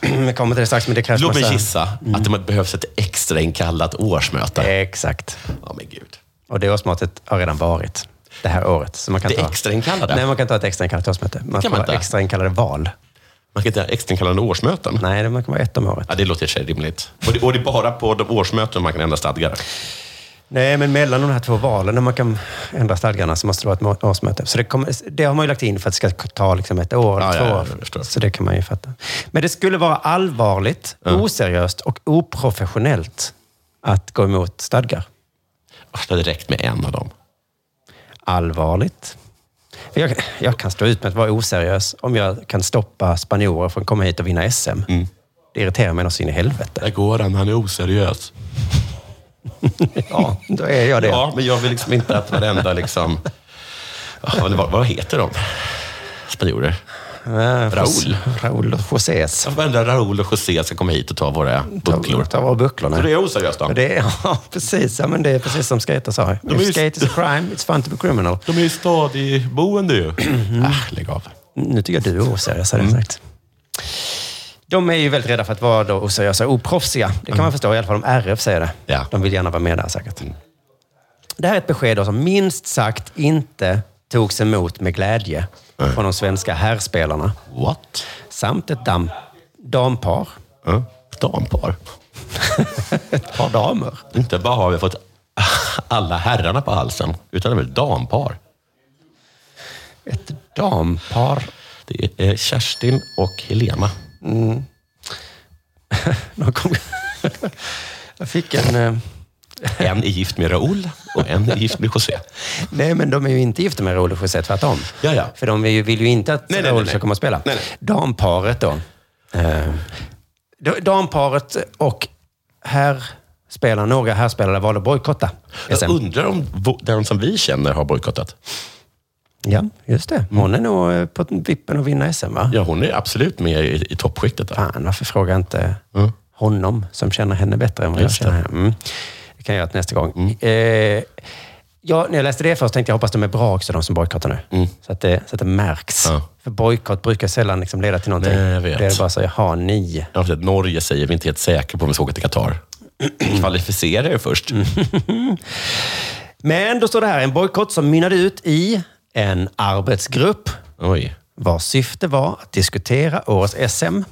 S2: Vi kommer till det strax, men det krävs
S3: Låt mig
S2: massa-
S3: gissa att det
S2: Mm.
S3: behövs ett extra inkallat årsmöte.
S2: Eh. Exakt.
S3: Ja, men gud.
S2: Och det årsmötet har redan varit det här året. Så man kan
S3: Det
S2: ta...
S3: extrainkallade?
S2: Nej, man kan ta ett extrainkallat årsmöte. Man
S3: kan
S2: kan
S3: man
S2: ha
S3: inte.
S2: extrainkallade val.
S3: Man kan inte ha extrainkallade årsmöten.
S2: Nej, det- man kan vara ett om året.
S3: Ja, det låter i och för sig rimligt. Och det, och det är bara på de årsmöten man kan ändra stadgar.
S2: Nej, men mellan de här två valen, när man kan ändra stadgarna, så måste det vara ett må- årsmöte. Så det, kommer, det har man ju lagt in för att det ska ta liksom ett år eller
S3: Ja,
S2: två
S3: ja, ja, jag
S2: år.
S3: förstår.
S2: Så det kan man ju fatta. Men det skulle vara allvarligt, oseriöst och oprofessionellt att gå emot stadgar.
S3: Ah, Det hade räckt med en av dem.
S2: Allvarligt. För Jag, jag kan stå ut med att vara oseriös om jag kan stoppa spanjorer från att komma hit och vinna SM. Det irriterar mig något så in i helvete.
S3: Där går han, han är oseriös.
S2: Ja, då är jag det.
S3: Ja, men jag vill liksom inte att varenda liksom... Ja, men vad, vad heter de? Spanjorer?
S2: Eh,
S3: Raoul.
S2: Raoul och Josés.
S3: Att varenda Raoul och José ska komma hit och ta våra bucklor.
S2: Ta våra bucklorna.
S3: Så det är oseriöst då?
S2: Ja, Det är, ja, precis. Ja, men det är precis som skater sa. If
S3: ju-
S2: skate is a crime, it's fun to be criminal.
S3: De är ju stadigboende ju.
S2: Mm.
S3: Ah, lägg av.
S2: Nu tycker jag du är oseriös, hade jag sagt. De är ju väldigt rädda för att vara då oseriösa och oproffsiga. Det kan man förstå, i alla fall om RF säger det.
S3: Ja.
S2: De vill gärna vara med där säkert. Det här är ett besked då som minst sagt inte togs emot med glädje från de svenska herrspelarna.
S3: What?
S2: Samt ett dam, dampar.
S3: Mm. Dampar?
S2: Ett par damer.
S3: Inte bara har vi fått alla herrarna på halsen, utan det är väl dampar.
S2: Ett dampar.
S3: Det är Kerstin och Helena.
S2: De kom- Jag fick en... eh,
S3: En är gift med Raoul och en är gift med José.
S2: Nej, men de är ju inte gifta med Raoul och José, tvärtom.
S3: Ja, ja.
S2: För de är ju, vill ju inte att
S3: Nej, nej,
S2: Raoul
S3: nej,
S2: ska
S3: nej.
S2: komma och spela.
S3: Nej,
S2: Damparet då. Eh, d- damparet och herrspelarna, några herrspelare valde att bojkotta. SM.
S3: Jag undrar om vo- den som vi känner har bojkottat.
S2: Ja, just det. Hon är nog eh, på vippen att vinna SM, va?
S3: Ja, hon är absolut med i, i toppskiktet. Där.
S2: Fan, varför frågar jag inte honom som känner henne bättre än vad
S3: Mm. Just det. Mm.
S2: jag känner henne? Mm. Det kan jag göra till nästa gång. Eh, ja, när jag läste det först tänkte jag hoppas de är bra också, de som bojkottar nu. Så, att det, så att det märks.
S3: Mm. Ja.
S2: För bojkott brukar sällan liksom leda till någonting.
S3: Nej, jag vet.
S2: Det är bara så, jaha, ni.
S3: Jag har sett att Norge säger vi inte är
S2: Mm.
S3: helt säkra på om vi ska åka till Qatar. Kvalificera er först.
S2: Men då står det här, en bojkott som mynnade ut i en arbetsgrupp vars syfte var att diskutera årets SM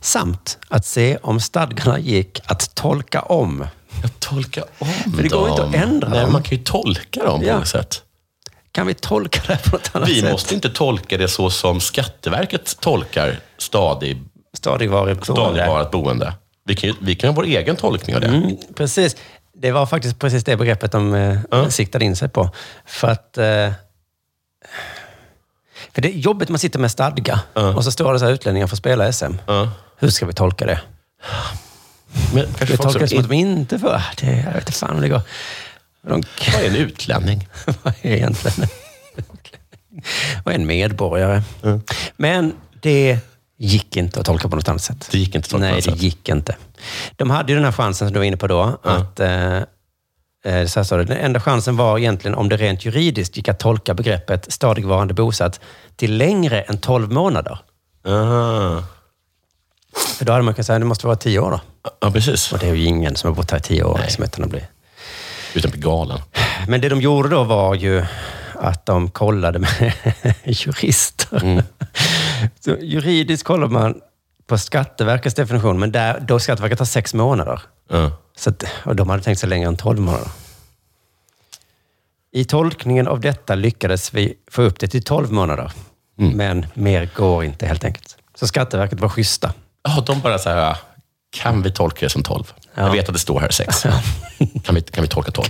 S2: samt att se om stadgarna gick att tolka om.
S3: Tolka om
S2: För det går inte att ändra
S3: Nej,
S2: dem.
S3: Man kan ju tolka dem
S2: Ja.
S3: på något sätt.
S2: Kan vi tolka det här på något annat
S3: Vi
S2: sätt?
S3: måste inte tolka det så som Skatteverket tolkar stadig,
S2: Stadigvarigt boende.
S3: stadigvarigt boende. Vi kan, ju, vi kan ha vår egen tolkning av det.
S2: Mm, precis. Det var faktiskt precis det begreppet de eh, siktade in sig på. För att... Eh, för det är jobbigt man sitter med stadga och så står det så här utlänningar får spela SM. Hur ska vi tolka det?
S3: Men
S2: Ska vi
S3: folk
S2: tolka det som
S3: som-
S2: att de inte får... Ah, Det, jag vet inte fan om det går. De,
S3: Vad är en utlänning?
S2: vad är egentligen Vad är en medborgare? Men det gick inte att tolka på något annat sätt.
S3: Det gick inte att tolka på
S2: Nej,
S3: något
S2: det
S3: sätt.
S2: gick inte. De hade ju den här chansen som du var inne på då. Att, eh, eh, så här står det. Den enda chansen var egentligen om det rent juridiskt gick att tolka begreppet stadigvarande bosatt till längre än 12 månader.
S3: Ah.
S2: För då hade man kunnat säga att det måste vara 10 år då.
S3: Ja, precis.
S2: Och det är ju ingen som har bott här i 10 år
S3: Nej.
S2: som inte blir.
S3: Utan på galen.
S2: Men det de gjorde då var ju att de kollade med jurister.
S3: Mm.
S2: Så juridiskt kollar man på Skatteverkets definition, men där, då Skatteverket har sex månader.
S3: Ja.
S2: Så att, och de hade tänkt sig längre än tolv månader. I tolkningen av detta lyckades vi få upp det till tolv månader.
S3: Mm.
S2: Men mer går inte helt enkelt. Så Skatteverket var schyssta.
S3: Ja, de bara så här, kan vi tolka det som 12?
S2: Ja.
S3: Jag vet att det står här 6. Kan vi, kan vi tolka 12?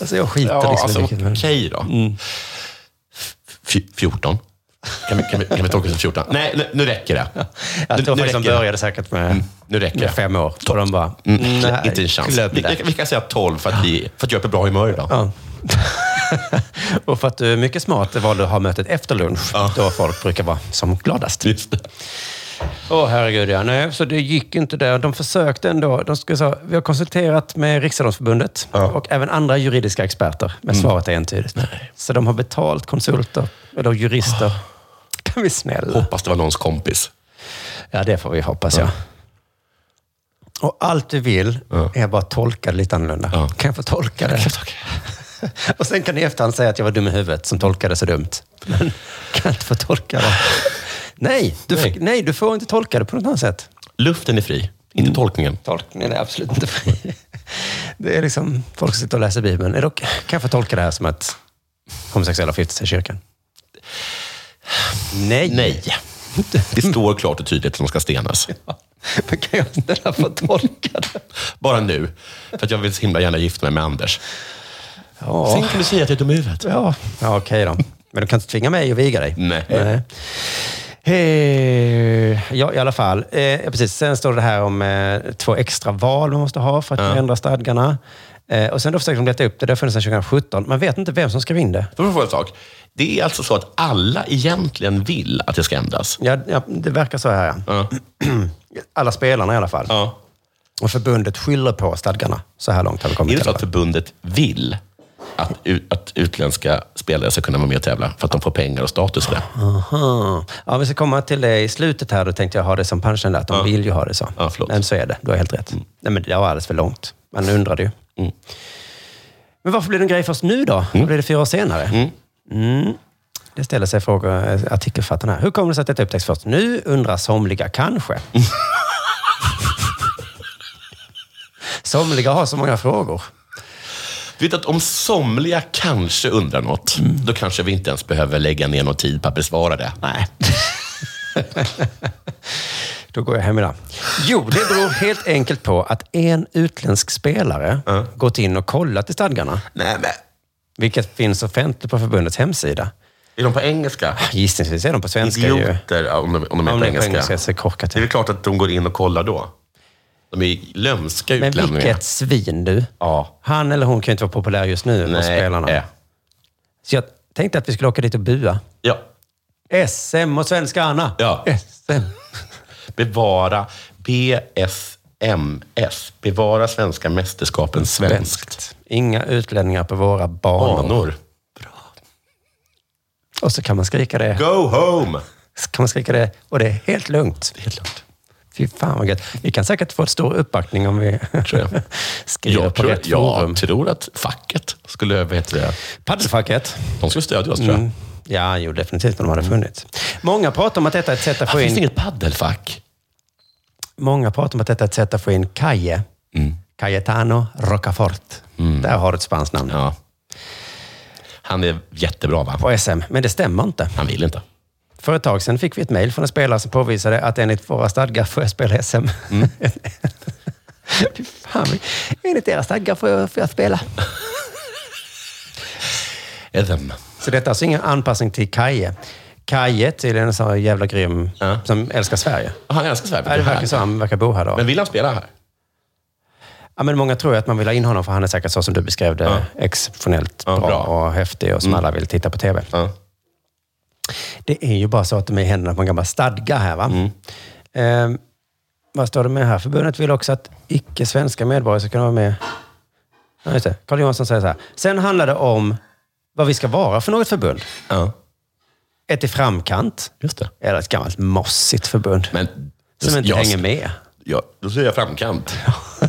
S2: Alltså jag skiter
S3: Ja,
S2: liksom
S3: alltså
S2: i
S3: okej
S2: vilket. Mm.
S3: då.
S2: men-
S3: Fj- 14? Kan vi, kan, vi, kan vi tolka det som 14? Nej, nu, nu räcker det.
S2: Jag
S3: nu
S2: tror faktiskt Alltså, de
S3: räcker
S2: liksom
S3: det. Mm,
S2: började säkert med,
S3: Nu räcker
S2: med
S3: det.
S2: fem år. Och de bara,
S3: Mm,
S2: nej,
S3: inte en chans.
S2: glöm
S3: Vi,
S2: det.
S3: vi kan säga 12 för att, vi, för att jag är på bra humör idag.
S2: Ja. och för att du är mycket smart valde du att ha mötet efter lunch, då folk brukar vara som gladast.
S3: Just det.
S2: Åh herregud ja, nej, så det gick inte där. De försökte ändå. De skulle säga, vi har konsulterat med Riksdagsförbundet och även andra juridiska experter, men svaret är entydigt. Så de har betalt konsulter, eller jurister. Kan vi snälla?
S3: Hoppas det var någons kompis.
S2: Ja, det får vi hoppas ja. Och allt du vill är bara att tolka det lite annorlunda.
S3: Ja.
S2: Kan jag få tolka det? Och sen kan ni i efterhand säga att jag var dum i huvudet som tolkade så dumt. Men kan jag inte få tolka det? Nej, du,
S3: Nej.
S2: nej. nej, du får inte tolka det på något annat sätt.
S3: Luften är fri,
S2: Mm.
S3: inte tolkningen.
S2: Tolkningen är absolut inte fri. Det är liksom folk som sitter och läser Bibeln. Är det okej? Kan jag få tolka det här som att homosexuella får gifta sig i kyrkan? Nej.
S3: Nej. Det står klart och tydligt att de ska stenas.
S2: Men kan jag snälla få tolka det?
S3: Bara nu, för att jag vill så himla gärna gifta mig med Anders.
S2: Ja,
S3: Sen kan du säga att jag är dum i huvudet.
S2: ja. ja okej då. Men du kan inte tvinga mig att viga dig.
S3: Nej.
S2: Eh, ja, i alla fall. Eh, ja, precis. Sen står det här om eh, två extra val man måste ha för att ändra stadgarna. Eh, och sen då försöker de leta upp det. Det har funnits sedan 2017. Man vet inte vem som skrev in det.
S3: Då får jag fråga en sak. Det är alltså så att alla egentligen vill att det ska ändras?
S2: Ja, ja, det verkar så här. Ja.
S3: Ja.
S2: Alla spelarna i alla fall.
S3: Ja.
S2: Och förbundet skyller på stadgarna. Så här långt har vi kommit.
S3: Är det
S2: i
S3: så
S2: alla
S3: att
S2: fall.
S3: förbundet vill att, ut- att utländska spelare ska kunna vara med och tävla för att de får pengar och status för det?
S2: Aha. Ja, vi ska komma till det i slutet här. Då tänkte jag ha det som punchen där, att de vill ju ha det så.
S3: Ja, förlåt. Mm.
S2: men så är det. Du har helt rätt. Nej, men det var alldeles för långt. Man undrade ju. Men varför blev det en grej först nu då? Varför blev det fyra år senare? Mm. Det ställer sig frågor, eh, artikelförfattarna här. Hur kommer det sig att detta upptäcks först nu? Undrar somliga kanske. somliga har så många frågor.
S3: Du vet att om somliga kanske undrar något, då kanske vi inte ens behöver lägga ner någon tid på att besvara det.
S2: Nej. Då går jag hem idag. Jo, det beror helt enkelt på att en utländsk spelare gått in och kollat i stadgarna,
S3: Nej, men.
S2: vilket finns offentligt på förbundets hemsida.
S3: Är de på engelska?
S2: Gissningsvis är de på svenska ju.
S3: Idioter, ja, om de, om de är
S2: Om
S3: på
S2: det är på
S3: engelska.
S2: engelska så är det korkat.
S3: Det är väl klart att de går in och kollar då. De är lömska
S2: Men
S3: utlänningar.
S2: vilket svin du.
S3: Ja.
S2: Han eller hon kan ju inte vara populär just nu bland
S3: Nej,
S2: spelarna.
S3: eh.
S2: Så jag tänkte att vi skulle åka dit och bua.
S3: Ja.
S2: SM och svenskarna!
S3: Ja.
S2: SM.
S3: Bevara BSMS. Bevara svenska mästerskapen svenskt.
S2: Inga utlänningar på våra banor.
S3: Anor.
S2: Och så kan man skrika det.
S3: Go home!
S2: kan man skrika det och det är helt lugnt.
S3: Helt lugnt.
S2: Fy Fy fan vad gött. Vi kan säkert få en stor uppbackning om vi skriver
S3: Jag
S2: på
S3: tror,
S2: rätt forum.
S3: jag tror att facket skulle, vad heter det?
S2: Paddelfacket.
S3: De skulle stödja oss tror jag.
S2: Mm. Ja, jo, definitivt om de hade funnits. Många pratar om att detta är ett sätt att
S3: Varför
S2: få
S3: Mm. finns det
S2: in...
S3: inget paddelfack?
S2: Många pratar om att detta är ett sätt att få in Kaje.
S3: Mm.
S2: Cayetano Rocafort. Där har du ett spanskt namn.
S3: Ja. Han är jättebra va?
S2: På SM. Men det stämmer inte.
S3: Han vill inte.
S2: För ett tag sedan fick vi ett mejl från en spelare som påvisade att enligt våra stadgar får jag spela SM.
S3: Mm.
S2: Fy Fan, enligt era stadgar får jag, får jag spela.
S3: Edem.
S2: Så detta är alltså ingen anpassning till Kaje. Kaje tydligen är en sån här jävla grym
S3: Ja.
S2: som älskar Sverige.
S3: Han älskar Sverige.
S2: Ja, det verkar så. Han verkar bo här då.
S3: Men vill han spela här?
S2: Ja, men många tror ju att man vill ha in honom för han är säkert så som du beskrev det. Exceptionellt
S3: Ja,
S2: bra,
S3: bra. Mm.
S2: och häftig och som alla vill titta på TV.
S3: Ja.
S2: Det är ju bara så att de är i händerna på en gammal stadga här. Va? Ehm, vad står det med här? Förbundet vill också att icke-svenska medborgare ska kunna vara med. Ja, just det. Carl Johansson säger så här. Sen handlar det om vad vi ska vara för något förbund.
S3: ja.
S2: Ett i framkant,
S3: Just det.
S2: eller ett gammalt mossigt förbund.
S3: Men,
S2: som inte
S3: jag,
S2: hänger med.
S3: Jag, då säger jag framkant.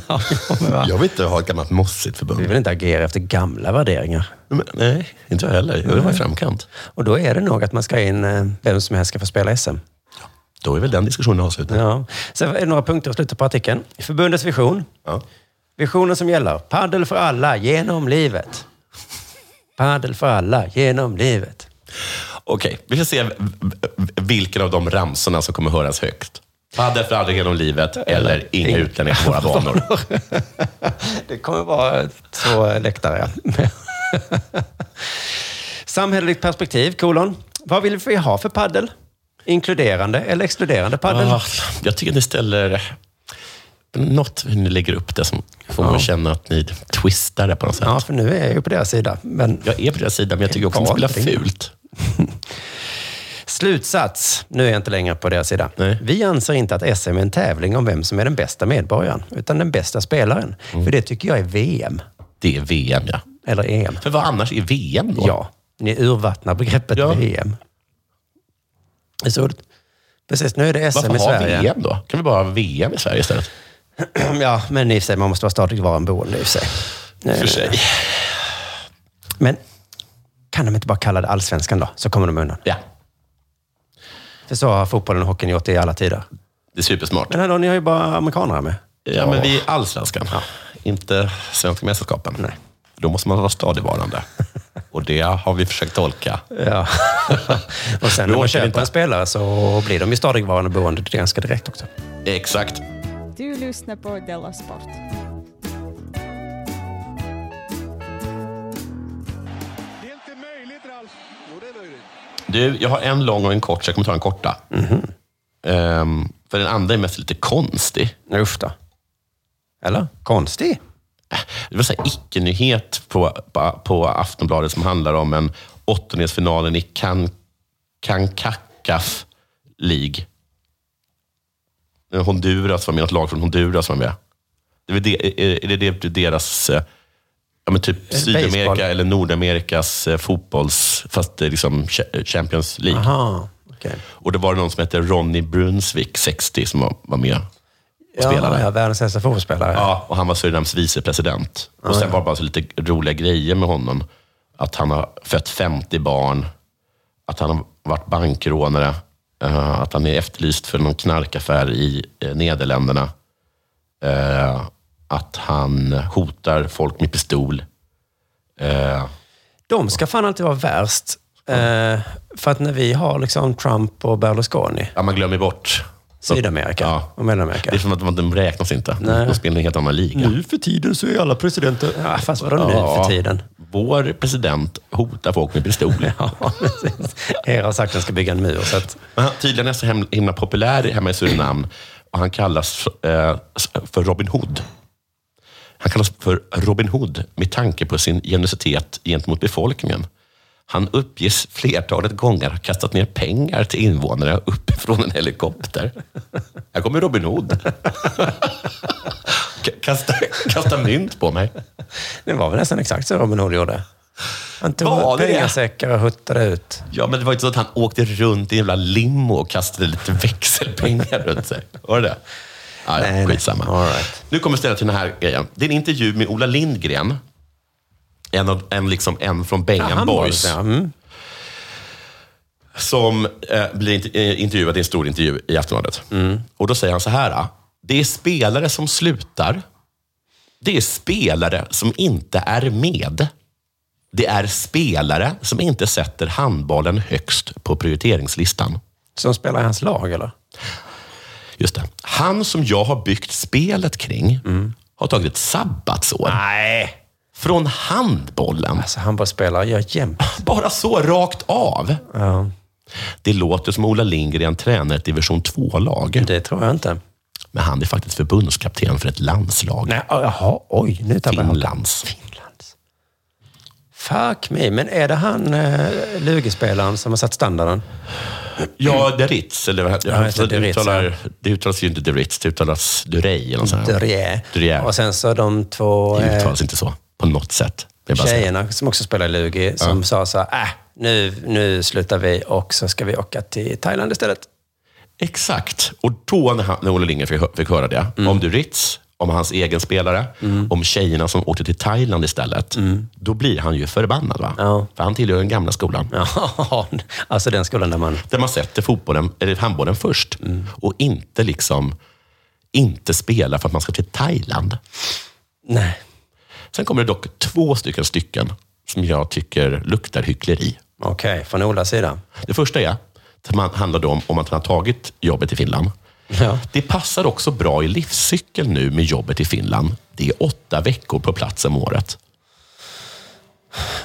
S2: Ja, men va?
S3: Jag vill inte ha ett gammalt mossigt
S2: Vi
S3: förbund.
S2: vill inte agera efter gamla värderingar.
S3: Men, nej, inte jag heller. Jag vill vara i framkant.
S2: Och då är det nog att man ska in, eh, vem som helst ska få spela SM.
S3: Då är väl den diskussionen avslutad.
S2: Ja. Sen är det några punkter i slutet på artikeln. Förbundets vision.
S3: Ja.
S2: Visionen som gäller. Paddel för alla genom livet. Paddel för alla genom livet.
S3: Okej, vi får se v- v- vilken av de ramsorna som kommer höras högst. Padel för aldrig genom livet eller inga utlänningar på våra banor.
S2: Det kommer vara två läktare. ja. Samhälleligt perspektiv, kolon. Vad vill vi ha för paddel? Inkluderande eller exkluderande paddel?
S3: Ah, Jag tycker ni ställer något hur ni lägger upp det som får mig att känna att ni twistar det på något sätt.
S2: Ja, för nu är jag ju på deras sida. Men
S3: Jag är på deras sida, men jag tycker också att ni
S2: Valfri.
S3: spelar fult.
S2: Slutsats. Nu är jag inte längre på deras sida.
S3: Nej.
S2: Vi anser inte att SM är en tävling om vem som är den bästa medborgaren, utan den bästa spelaren.
S3: Mm.
S2: För det tycker jag är VM.
S3: Det är VM, ja.
S2: Eller E EM.
S3: För vad annars är VM då?
S2: Ja, ni urvattnar begreppet
S3: Ja.
S2: VM. Det är så roligt. Precis, nu är det SM
S3: Varför
S2: i
S3: ha
S2: Sverige.
S3: VM då? Kan vi bara ha VM i Sverige istället?
S2: Ja, men i och för sig, man måste vara statligt varenboende i och för sig. Eh,
S3: För sig.
S2: Men kan de inte bara kalla det allsvenskan då, så kommer de undan.
S3: Ja,
S2: För så har fotbollen och hockeyn gjort det i alla tider.
S3: det är supersmart.
S2: Men hallå, ni har ju bara amerikanare med.
S3: Ja, men vi är allsvenskan. Inte svenska mästerskapen. Nej. Då måste man vara stadigvarande. Och det har vi försökt tolka.
S2: Ja. och sen
S3: Då
S2: när man
S3: orkar vi
S2: köper
S3: inte.
S2: en spelare så blir de ju stadigvarande boende ganska direkt också.
S3: Exakt.
S6: Du lyssnar på Della Sport.
S3: Du, jag har en lång och en kort, så jag kommer ta den korta. Ehm, för den andra är mest lite konstig.
S2: Usch då. Eller? Konstig.
S3: Det var så här icke-nyhet på, på, på Aftonbladet som handlar om en åttondelsfinalen i Kan- Kankakaf League. Det är Honduras var med, något lag från Honduras var med. Det är, väl det, är- är det, det deras, eh, ja, men typ Sydamerika eller Nordamerikas eh, fotbolls, fast det är liksom cha- Champions League.
S2: Aha, okej.
S3: Och då var det någon som hette Ronny Brunswick, 60, som var, var med.
S2: Ja,
S3: Spelare.
S2: ja, världens äldsta fotbollsspelare.
S3: Ja, och han var Surinams vicepresident. Och sen var det bara så lite roliga grejer med honom. Att han har fött 50 barn, att han har varit bankrånare, eh, att han är efterlyst för någon knarkaffär i eh, Nederländerna. eh, Att han hotar folk med pistol. Eh,
S2: De ska fan alltid vara värst. Eh, för att när vi har liksom Trump och Berlusconi,
S3: Ja, man glömmer bort.
S2: Sydamerika
S3: Ja.
S2: och Mellanamerika.
S3: Det är som att de- de räknas inte. De spelar i en helt annan liga.
S2: för tiden så är alla presidenter... Ja, fast vadå nu
S3: Ja.
S2: Mm. för tiden?
S3: Vår president hotar folk med pistol.
S2: Ja, precis. Era har sagt att de ska bygga en mur. Så att,
S3: Men han, tydligen är så hem- himla populär hemma i Surinam och han kallas eh, för Robin Hood. Han kallas för Robin Hood med tanke på sin generositet gentemot befolkningen. Han uppges flertalet gånger ha kastat ner pengar till invånare uppifrån en helikopter. Här kommer Robin Hood. K- kasta, kasta mynt på mig.
S2: det var väl nästan exakt så Robin Hood gjorde. Han tog
S3: Valde det?
S2: pengasäckar och huttade ut.
S3: Ja, men det var inte så att han åkte runt i en jävla limo och kastade lite växelpengar runt sig. Var det det? Ja, ja, skitsamma. Nu kommer jag ställa till den här grejen. Det är en intervju med Ola Lindgren. En, av, en, liksom, en från
S2: Ja,
S3: Bengan
S2: han var
S3: Boys.
S2: det, ja. Mm.
S3: Som eh, blir int- eh, intervjuad i en stor intervju i Aftonbladet. Och då säger han så här. ah, Det är spelare som slutar. Det är spelare som inte är med. Det är spelare som inte sätter handbollen högst på prioriteringslistan.
S2: Som spelar i hans lag, eller?
S3: Just det. Han som jag har byggt spelet kring har tagit ett sabbatsår. Nej. Från handbollen.
S2: Alltså, handbollsspelare gör jämt.
S3: Bara så, rakt av.
S2: Ja.
S3: Det låter som Ola Lindgren tränar ett division 2-lag.
S2: Det tror jag inte.
S3: Men han är faktiskt förbundskapten för ett landslag.
S2: Nej, ö- jaha, oj. Nu tappade jag hakan.
S3: Finlands.
S2: Fuck me. Men är det han eh, lugespelaren som har satt standarden?
S3: Ja, Deritz. Eller vad
S2: Ja, just det,
S3: heter Mm. det?
S2: Deritz,
S3: Uttalar, det uttalas ju inte Deritz, det uttalas Durey. Eller något sånt här.
S2: Durier.
S3: Durier.
S2: Och sen så de två
S3: Det
S2: eh,
S3: uttalas inte så, på något sätt. Det är bara så.
S2: tjejerna som också spelar i Lugi som sa så här, äh, nu, nu slutar vi och så ska vi åka till Thailand istället.
S3: Exakt. Och då när, han, när Olle Lindgren fick, hö- fick höra det, om Duritz, om hans egen spelare, om tjejerna som åkte till Thailand istället, då blir han ju förbannad. Va?
S2: Ja.
S3: För han tillhör den gamla skolan.
S2: Ja, alltså den skolan där man...
S3: Där man sätter fotbollen, eller handbollen först och inte liksom inte spelar för att man ska till Thailand.
S2: Nej.
S3: Sen kommer det dock två stycken stycken som jag tycker luktar hyckleri.
S2: Okej, från Olas sida.
S3: Det första är att man handlar då om, om att han har tagit jobbet i Finland.
S2: Ja.
S3: Det passar också bra i livscykel nu med jobbet i Finland. Det är åtta veckor på plats om året.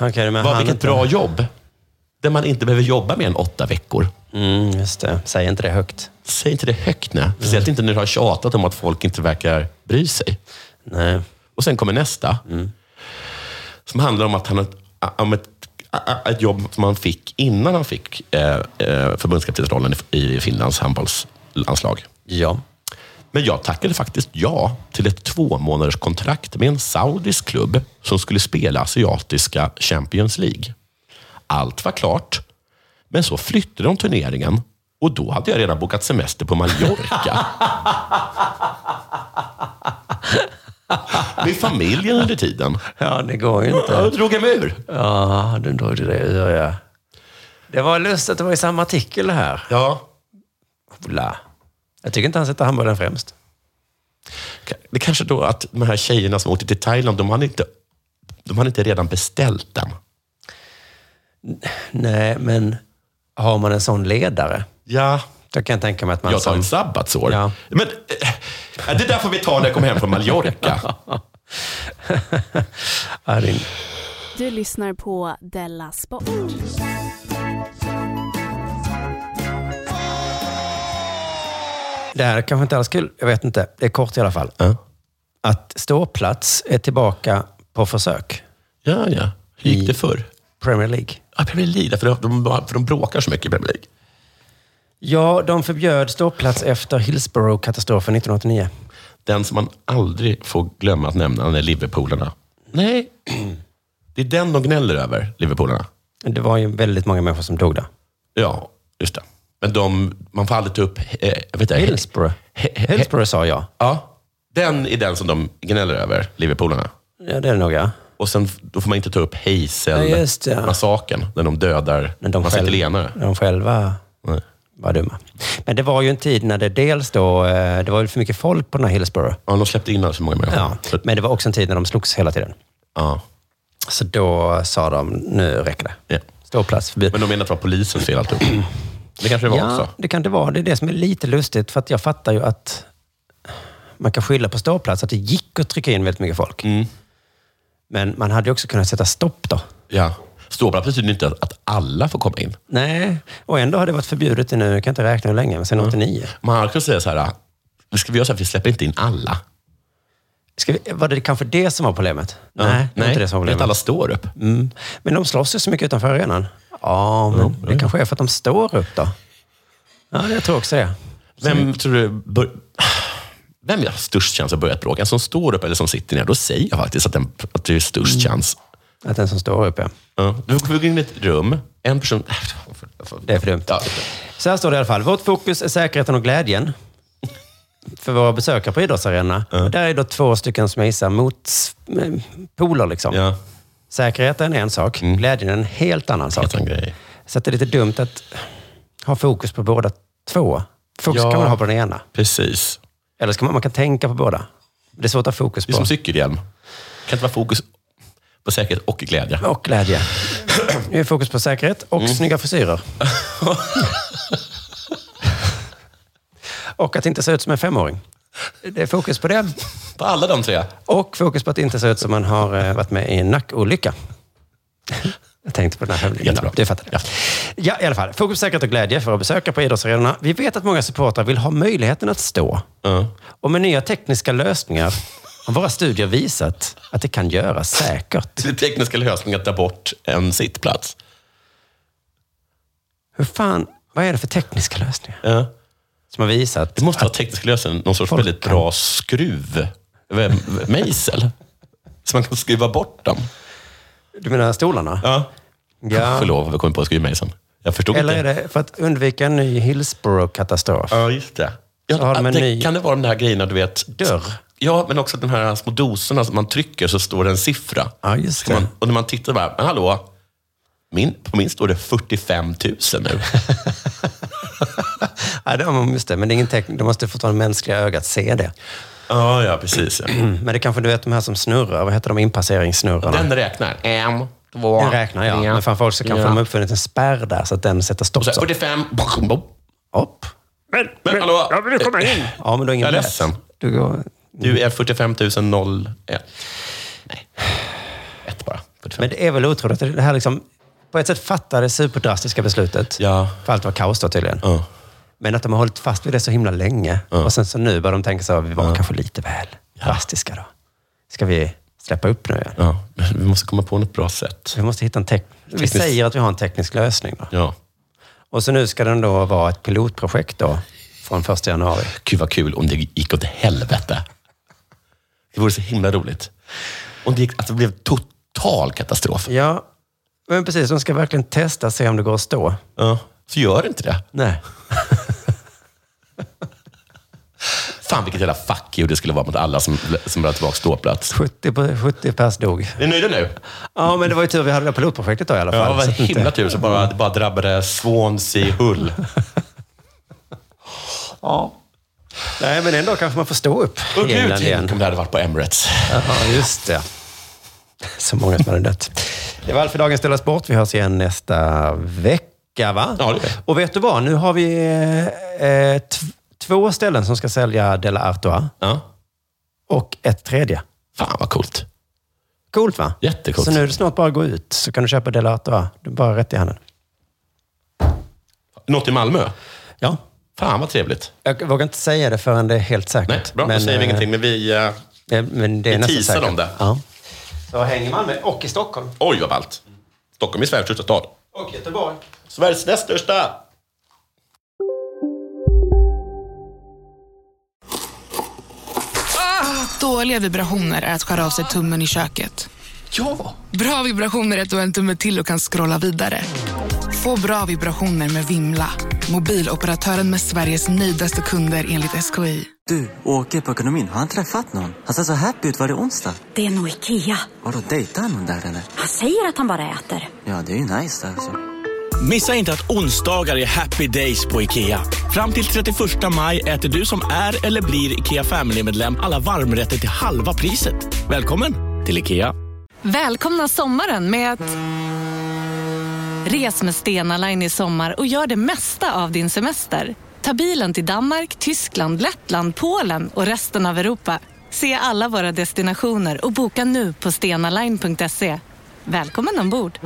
S2: Okay, men
S3: Vad,
S2: han
S3: vilket
S2: inte-
S3: bra jobb! Där man inte behöver jobba mer än åtta veckor.
S2: Mm, just det. Säg inte det högt.
S3: Säg inte det högt nu. Speciellt inte när du har tjatat om att folk inte verkar bry sig.
S2: Nej.
S3: Och sen kommer nästa. Som handlar om att han har ett- om ett, ett jobb som han fick innan han fick eh, eh, förbundskaptensrollen i i Finlands handbollslandslag.
S2: Ja.
S3: Men jag tackade faktiskt ja till ett två månaders kontrakt med en saudisk klubb som skulle spela asiatiska Champions League. Allt var klart, men så flyttade de turneringen och då hade jag redan bokat semester på Mallorca. med familjen under tiden.
S2: Ja, det går ju
S3: Då
S2: inte.
S3: drog jag mig ur.
S2: Ja, den drog det ur, ja. Det var lustigt att det var i samma artikel här.
S3: Ja,
S2: Ola. Jag tycker inte han sätter handbollen främst.
S3: det kanske då att de här tjejerna som åkte till Thailand, de hade inte, de hade inte redan beställt den.
S2: Nej, men har man en sån ledare,
S3: Ja,
S2: då kan jag tänka mig att man
S3: Jag tar
S2: som...
S3: ett sabbatsår.
S2: Ja.
S3: Men, eh, det där får vi ta när jag kommer hem från Mallorca.
S2: Ja, det är-
S7: Du lyssnar på Della Sport.
S2: Det här är kanske inte alls kul. Jag vet inte. Det är kort i alla fall. Att ståplats är tillbaka på försök.
S3: Ja, ja. Hur gick det förr?
S2: Premier League.
S3: Ja, Premier League, för de, för de bråkar så mycket i Premier League.
S2: Ja, de förbjöd ståplats efter Hillsborough-katastrofen 1989.
S3: Den som man aldrig får glömma att nämna, den är Liverpoolarna. Nej. Det är den de gnäller över, Liverpoolarna.
S2: Det var ju väldigt många människor som dog där.
S3: Ja, just det. Men de, man får aldrig ta upp... Eh, jag vet inte,
S2: Hillsborough.
S3: He- he-
S2: Hillsborough sa jag.
S3: Ja, den är den som de gnäller över, Liverpoolarna.
S2: Ja, det är det nog, ja.
S3: Och sen då får man inte ta upp
S2: Ja, just det.
S3: Hazel-massakern, när de dödar
S2: Men de,
S3: massa
S2: själv-
S3: italienare.
S2: de själva
S3: Nej.
S2: var dumma. Men det var ju en tid när det dels då... eh, Det var ju för mycket folk på den här Hillsborough.
S3: Ja, de släppte in alldeles för många människor.
S2: Ja.
S3: Så-
S2: Men det var också en tid när de slogs hela tiden.
S3: ja.
S2: Så då sa de, nu räcker det.
S3: Ja.
S2: Ståplats förbjud.
S3: Men de menar att det var polisens fel alltihop. Det kanske det var
S2: ja,
S3: också.
S2: det kan det vara. Det är det som är lite lustigt, för att jag fattar ju att man kan skylla på ståplats, att det gick att trycka in väldigt mycket folk.
S3: Mm.
S2: Men man hade ju också kunnat sätta stopp då.
S3: Ja. Ståplats betyder inte att, att alla får komma in.
S2: Nej, och ändå har det varit förbjudet i nu, jag kan inte räkna hur länge, men sen 89.
S3: Man hade kunnat säga så här, ah, nu ska vi göra så här, vi släpper inte in alla.
S2: Ska vi, var det kanske det som var problemet?
S3: Ja.
S2: Nej, det var inte det som var
S3: men att
S2: problemet.
S3: alla står upp.
S2: Mm. Men de slåss ju så mycket utanför arenan. Ja, men det kanske är för att de står upp då. Ja, det tror jag också det.
S3: Vem tror du... Bör... Vem
S2: Mm.
S3: har störst chans att börja ett bråk? En som står upp eller som sitter ner? Då säger jag faktiskt att, den, att det är störst chans.
S2: Att den som står upp, ja.
S3: Du får gå in i ett rum. En person...
S2: Det är för dumt. Så här står det i alla fall. Vårt fokus är säkerheten och glädjen för våra besökare på idrottsarenorna. Och Där är då två stycken som jag gissar mot eh, poler. Liksom. Säkerheten är en sak, glädjen är en Mm. helt annan sak. Så att det är lite dumt att ha fokus på båda två. Fokus
S3: Ja.
S2: kan man ha på den ena.
S3: Precis.
S2: Eller ska man, man kan tänka på båda. Det är svårt att ha fokus
S3: Det är som
S2: på.
S3: cykelhjälm. Kan inte vara fokus på säkerhet och glädje.
S2: Och glädje. Nu är fokus på säkerhet
S3: Mm.
S2: och snygga frisyrer. och att inte se ut som en femåring. Det är fokus på det.
S3: På alla de tre.
S2: Och fokus på att inte se ut som man har eh, varit med i en nackolycka. Jag tänkte på den här hövlingen. Ja, Du fattar. Ja. ja, i alla fall. Fokus på säkerhet och glädje för att besöka på idrottsarenorna. Vi vet att många supportrar vill ha möjligheten att stå. Och med nya tekniska lösningar har våra studier visat att det kan göras säkert.
S3: Det är tekniska lösningen att ta bort en sittplats.
S2: Hur fan, vad är det för tekniska lösningar?
S3: Ja.
S2: Som har visat...
S3: Det måste vara teknisk lösning, någon sorts väldigt bra skruv. Vem- Mejsel. Så man kan skruva bort dem.
S2: Du menar stolarna?
S3: Ja.
S2: Ja.
S3: Förlåt, vi kom på skruvmejseln. Jag förstod
S2: Eller är
S3: inte.
S2: det för att undvika en ny Hillsborough-katastrof?
S3: Ja, just det.
S2: Så har de en
S3: det,
S2: ny...
S3: Kan det vara de där grejerna, du vet?
S2: Dörr?
S3: Ja, men också de här små doserna som man trycker så står det en siffra.
S2: Ja, just
S3: Så
S2: det.
S3: man, och när man tittar bara, men hallå, min, på min står det 45 000 nu.
S2: Ja, det har man just det. Men det är ingen teknik. De måste fortfarande mänskliga ögat se det.
S3: Ja, ja, precis. Ja.
S2: Men det kanske du vet de här som snurrar. Vad heter de? Inpasseringssnurrarna.
S3: Mm. Den räknar. En, två,
S2: Den räknar ja. Men framför allt så kanske
S3: Ja.
S2: de har uppfunnit en spärr där så att den sätter stopp.
S3: Och så här,
S2: så.
S3: 45, bom, bom.
S2: Hopp.
S3: Men, men hallå! Ja, men nu kommer in.
S2: Ja, men du har ingen
S3: Jag är
S2: biljett.
S3: ledsen.
S2: Du går...
S3: Du är 45 001. Nej. Ett bara. 45.
S2: Men det är väl otroligt. att Det här liksom, på ett sätt fattar det superdrastiska beslutet.
S3: Ja.
S2: För allt var kaos då tydligen. Men att de har hållit fast vid det så himla länge. Och sen så nu börjar de tänka så här, vi var kanske lite väl drastiska då. Ska vi släppa upp nu igen?
S3: Ja, men vi måste komma på något bra sätt.
S2: Vi måste hitta en tek- Vi
S3: Teknisk-
S2: säger att vi har en teknisk lösning då.
S3: Ja.
S2: Och så nu ska den då vara ett pilotprojekt då, från 1 januari.
S3: Gud vad kul om det gick åt helvete. Det vore så himla roligt. Om det gick, att det blev total katastrof.
S2: Ja, men precis. De ska verkligen testa, se om det går att stå.
S3: Ja. Så gör inte det.
S2: Nej.
S3: Fan vilket jävla fuck you det skulle vara mot alla som, som började tillbaka ståplats.
S2: 70, på- 70 pers dog.
S3: Är ni nöjda nu?
S2: Ja, men det var ju tur vi hade det här pilotprojektet då i alla fall.
S3: Ja, vad
S2: så att
S3: himla
S2: inte-
S3: tur som bara, det bara drabbade Swansea Hull.
S2: Ja. Nej, men ändå kanske man får stå upp
S3: Åh
S2: i
S3: gud,
S2: England igen.
S3: tänk om det hade varit på Emirates.
S2: Ja, just det. Så många som hade dött. Det var allt för dagens Della Sport. Vi hörs igen nästa vecka, va?
S3: Ja, det är.
S2: Och vet du vad? Nu har vi eh, eh, tv- två ställen som ska sälja Della Artois
S3: Ja.
S2: och ett tredje.
S3: Fan vad coolt.
S2: Coolt, va?
S3: Jättecoolt.
S2: Så nu är det snart bara att gå ut, så kan du köpa Della Artois. Du är bara rätt i handen.
S3: Något i Malmö?
S2: Ja.
S3: Fan vad trevligt.
S2: Jag vågar inte säga det förrän det är helt säkert.
S3: Nej, bra, då säger vi
S2: eh,
S3: ingenting. Men vi... eh,
S2: eh, Men det är
S3: Vi
S2: nästan
S3: teasar
S2: säkert.
S3: om det.
S2: Ja. Så häng i Malmö och i Stockholm.
S3: Oj, vad ballt. Stockholm är Sveriges största stad.
S2: Och Göteborg.
S3: Sveriges näst största!
S8: Dåliga vibrationer är att skära av sig tummen i köket.
S9: Ja!
S8: Bra vibrationer är att du har en tumme till och kan scrolla vidare. Få bra vibrationer med Vimla. Mobiloperatören med Sveriges nöjdaste kunder enligt SKI.
S10: Du, åker på ekonomin. Har han träffat någon? Han ser så happy ut varje onsdag.
S11: Det är nog Ikea.
S10: Har du dejtar han någon där eller?
S11: Han säger att han bara äter.
S10: Ja, det är ju nice alltså.
S12: Missa inte att onsdagar är happy days på IKEA. Fram till 31 maj äter du som är eller blir IKEA Family-medlem alla varmrätter till halva priset. Välkommen till IKEA.
S13: Välkomna sommaren med att... Res med Stena Line i sommar och gör det mesta av din semester. Ta bilen till Danmark, Tyskland, Lettland, Polen och resten av Europa. Se alla våra destinationer och boka nu på stenaline.se. Välkommen ombord!